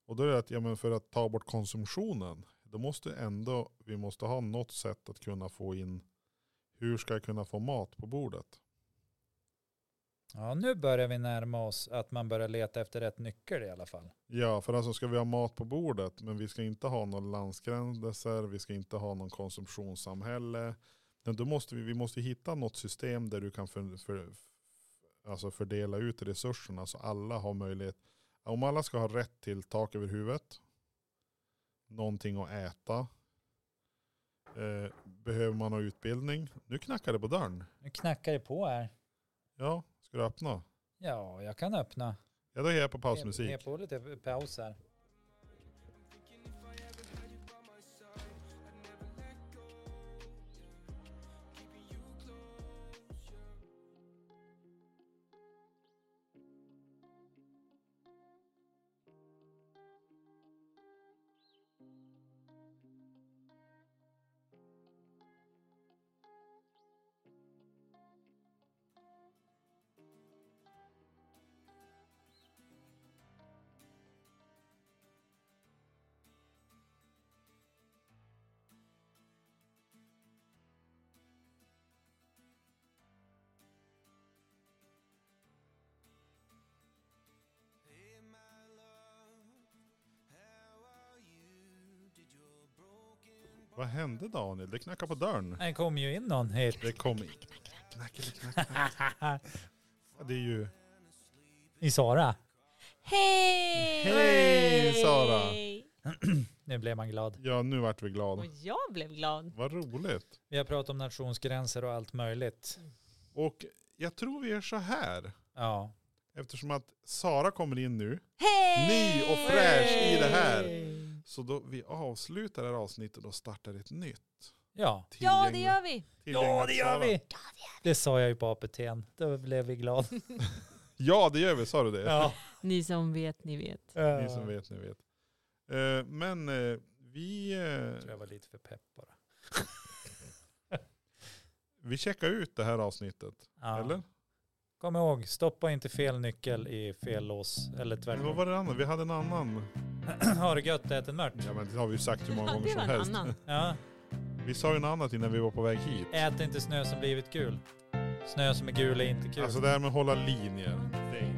[SPEAKER 1] Och då är det att, ja men för att ta bort konsumtionen, då måste ändå, vi måste ha något sätt att kunna få in, hur ska jag kunna få mat på bordet?
[SPEAKER 2] ja nu börjar vi närma oss att man börjar leta efter rätt nyckel i alla fall.
[SPEAKER 1] Ja, för alltså ska vi ha mat på bordet, men vi ska inte ha någon landsgränser, vi ska inte ha någon konsumtionssamhälle. Men då måste vi, vi måste hitta något system där du kan för, för, alltså fördela ut resurserna så alla har möjlighet. Om alla ska ha rätt till tak över huvudet, någonting att äta, eh, behöver man ha utbildning. Nu knackar det på dörren.
[SPEAKER 2] Nu knackar det på här.
[SPEAKER 1] Ja, ska du öppna?
[SPEAKER 2] Ja, jag kan öppna.
[SPEAKER 1] Ja, då är jag på
[SPEAKER 2] Jag
[SPEAKER 1] pausmusik.
[SPEAKER 2] på lite paus här.
[SPEAKER 4] Hey, my love, how are you? Did your broken
[SPEAKER 1] Vad hände Daniel? Det knackar på dörren.
[SPEAKER 2] Det kom ju in någon hit.
[SPEAKER 1] Det kom in. Ja, Det är ju...
[SPEAKER 2] I Sara.
[SPEAKER 5] Hej!
[SPEAKER 1] Hej, Sara!
[SPEAKER 2] Nu blev man glad.
[SPEAKER 1] Ja, nu vart vi
[SPEAKER 5] Och
[SPEAKER 1] glada.
[SPEAKER 5] jag blev glad.
[SPEAKER 1] Vad roligt.
[SPEAKER 2] Vi har pratat om nationsgränser och allt möjligt.
[SPEAKER 1] Och jag tror vi är så här.
[SPEAKER 2] Ja.
[SPEAKER 1] Eftersom att Sara kommer in nu,
[SPEAKER 5] Hej!
[SPEAKER 1] ny och fräsch i det här.
[SPEAKER 5] Hej!
[SPEAKER 1] Så då vi avslutar det här avsnittet och startar ett nytt.
[SPEAKER 2] Ja.
[SPEAKER 5] Ja, det gör vi.
[SPEAKER 1] tillgängligt
[SPEAKER 2] Ja, det gör
[SPEAKER 1] Sara.
[SPEAKER 2] vi! Det sa jag ju på APT'n. Då blev vi glada.
[SPEAKER 1] Ja, det gör vi. Sa du det?
[SPEAKER 2] Ja.
[SPEAKER 5] Ni som vet, ni vet.
[SPEAKER 1] Ni som vet, ni vet. Eh, Men eh, vi,
[SPEAKER 2] Jag tror jag
[SPEAKER 1] eh,
[SPEAKER 2] var lite för pepp bara.
[SPEAKER 1] vi checkar ut det här avsnittet.
[SPEAKER 2] Ja.
[SPEAKER 1] Eller?
[SPEAKER 2] Kom ihåg, stoppa inte fel nyckel i fel lås. Eller
[SPEAKER 1] Men vad
[SPEAKER 2] tvärtom.
[SPEAKER 1] var det andra? Vi hade en annan.
[SPEAKER 2] Har det gött, ät en mört.
[SPEAKER 1] Ja, men det har vi ju sagt hur många
[SPEAKER 5] Ja,
[SPEAKER 1] gånger
[SPEAKER 5] det
[SPEAKER 1] som
[SPEAKER 5] var en
[SPEAKER 1] helst.
[SPEAKER 5] annan.
[SPEAKER 2] Ja.
[SPEAKER 1] Vi sa ju något annat innan vi var på väg hit.
[SPEAKER 2] Ät inte snö som blivit gul. Snö som är gul är inte kul.
[SPEAKER 1] Alltså det här med att hålla linjer. Det är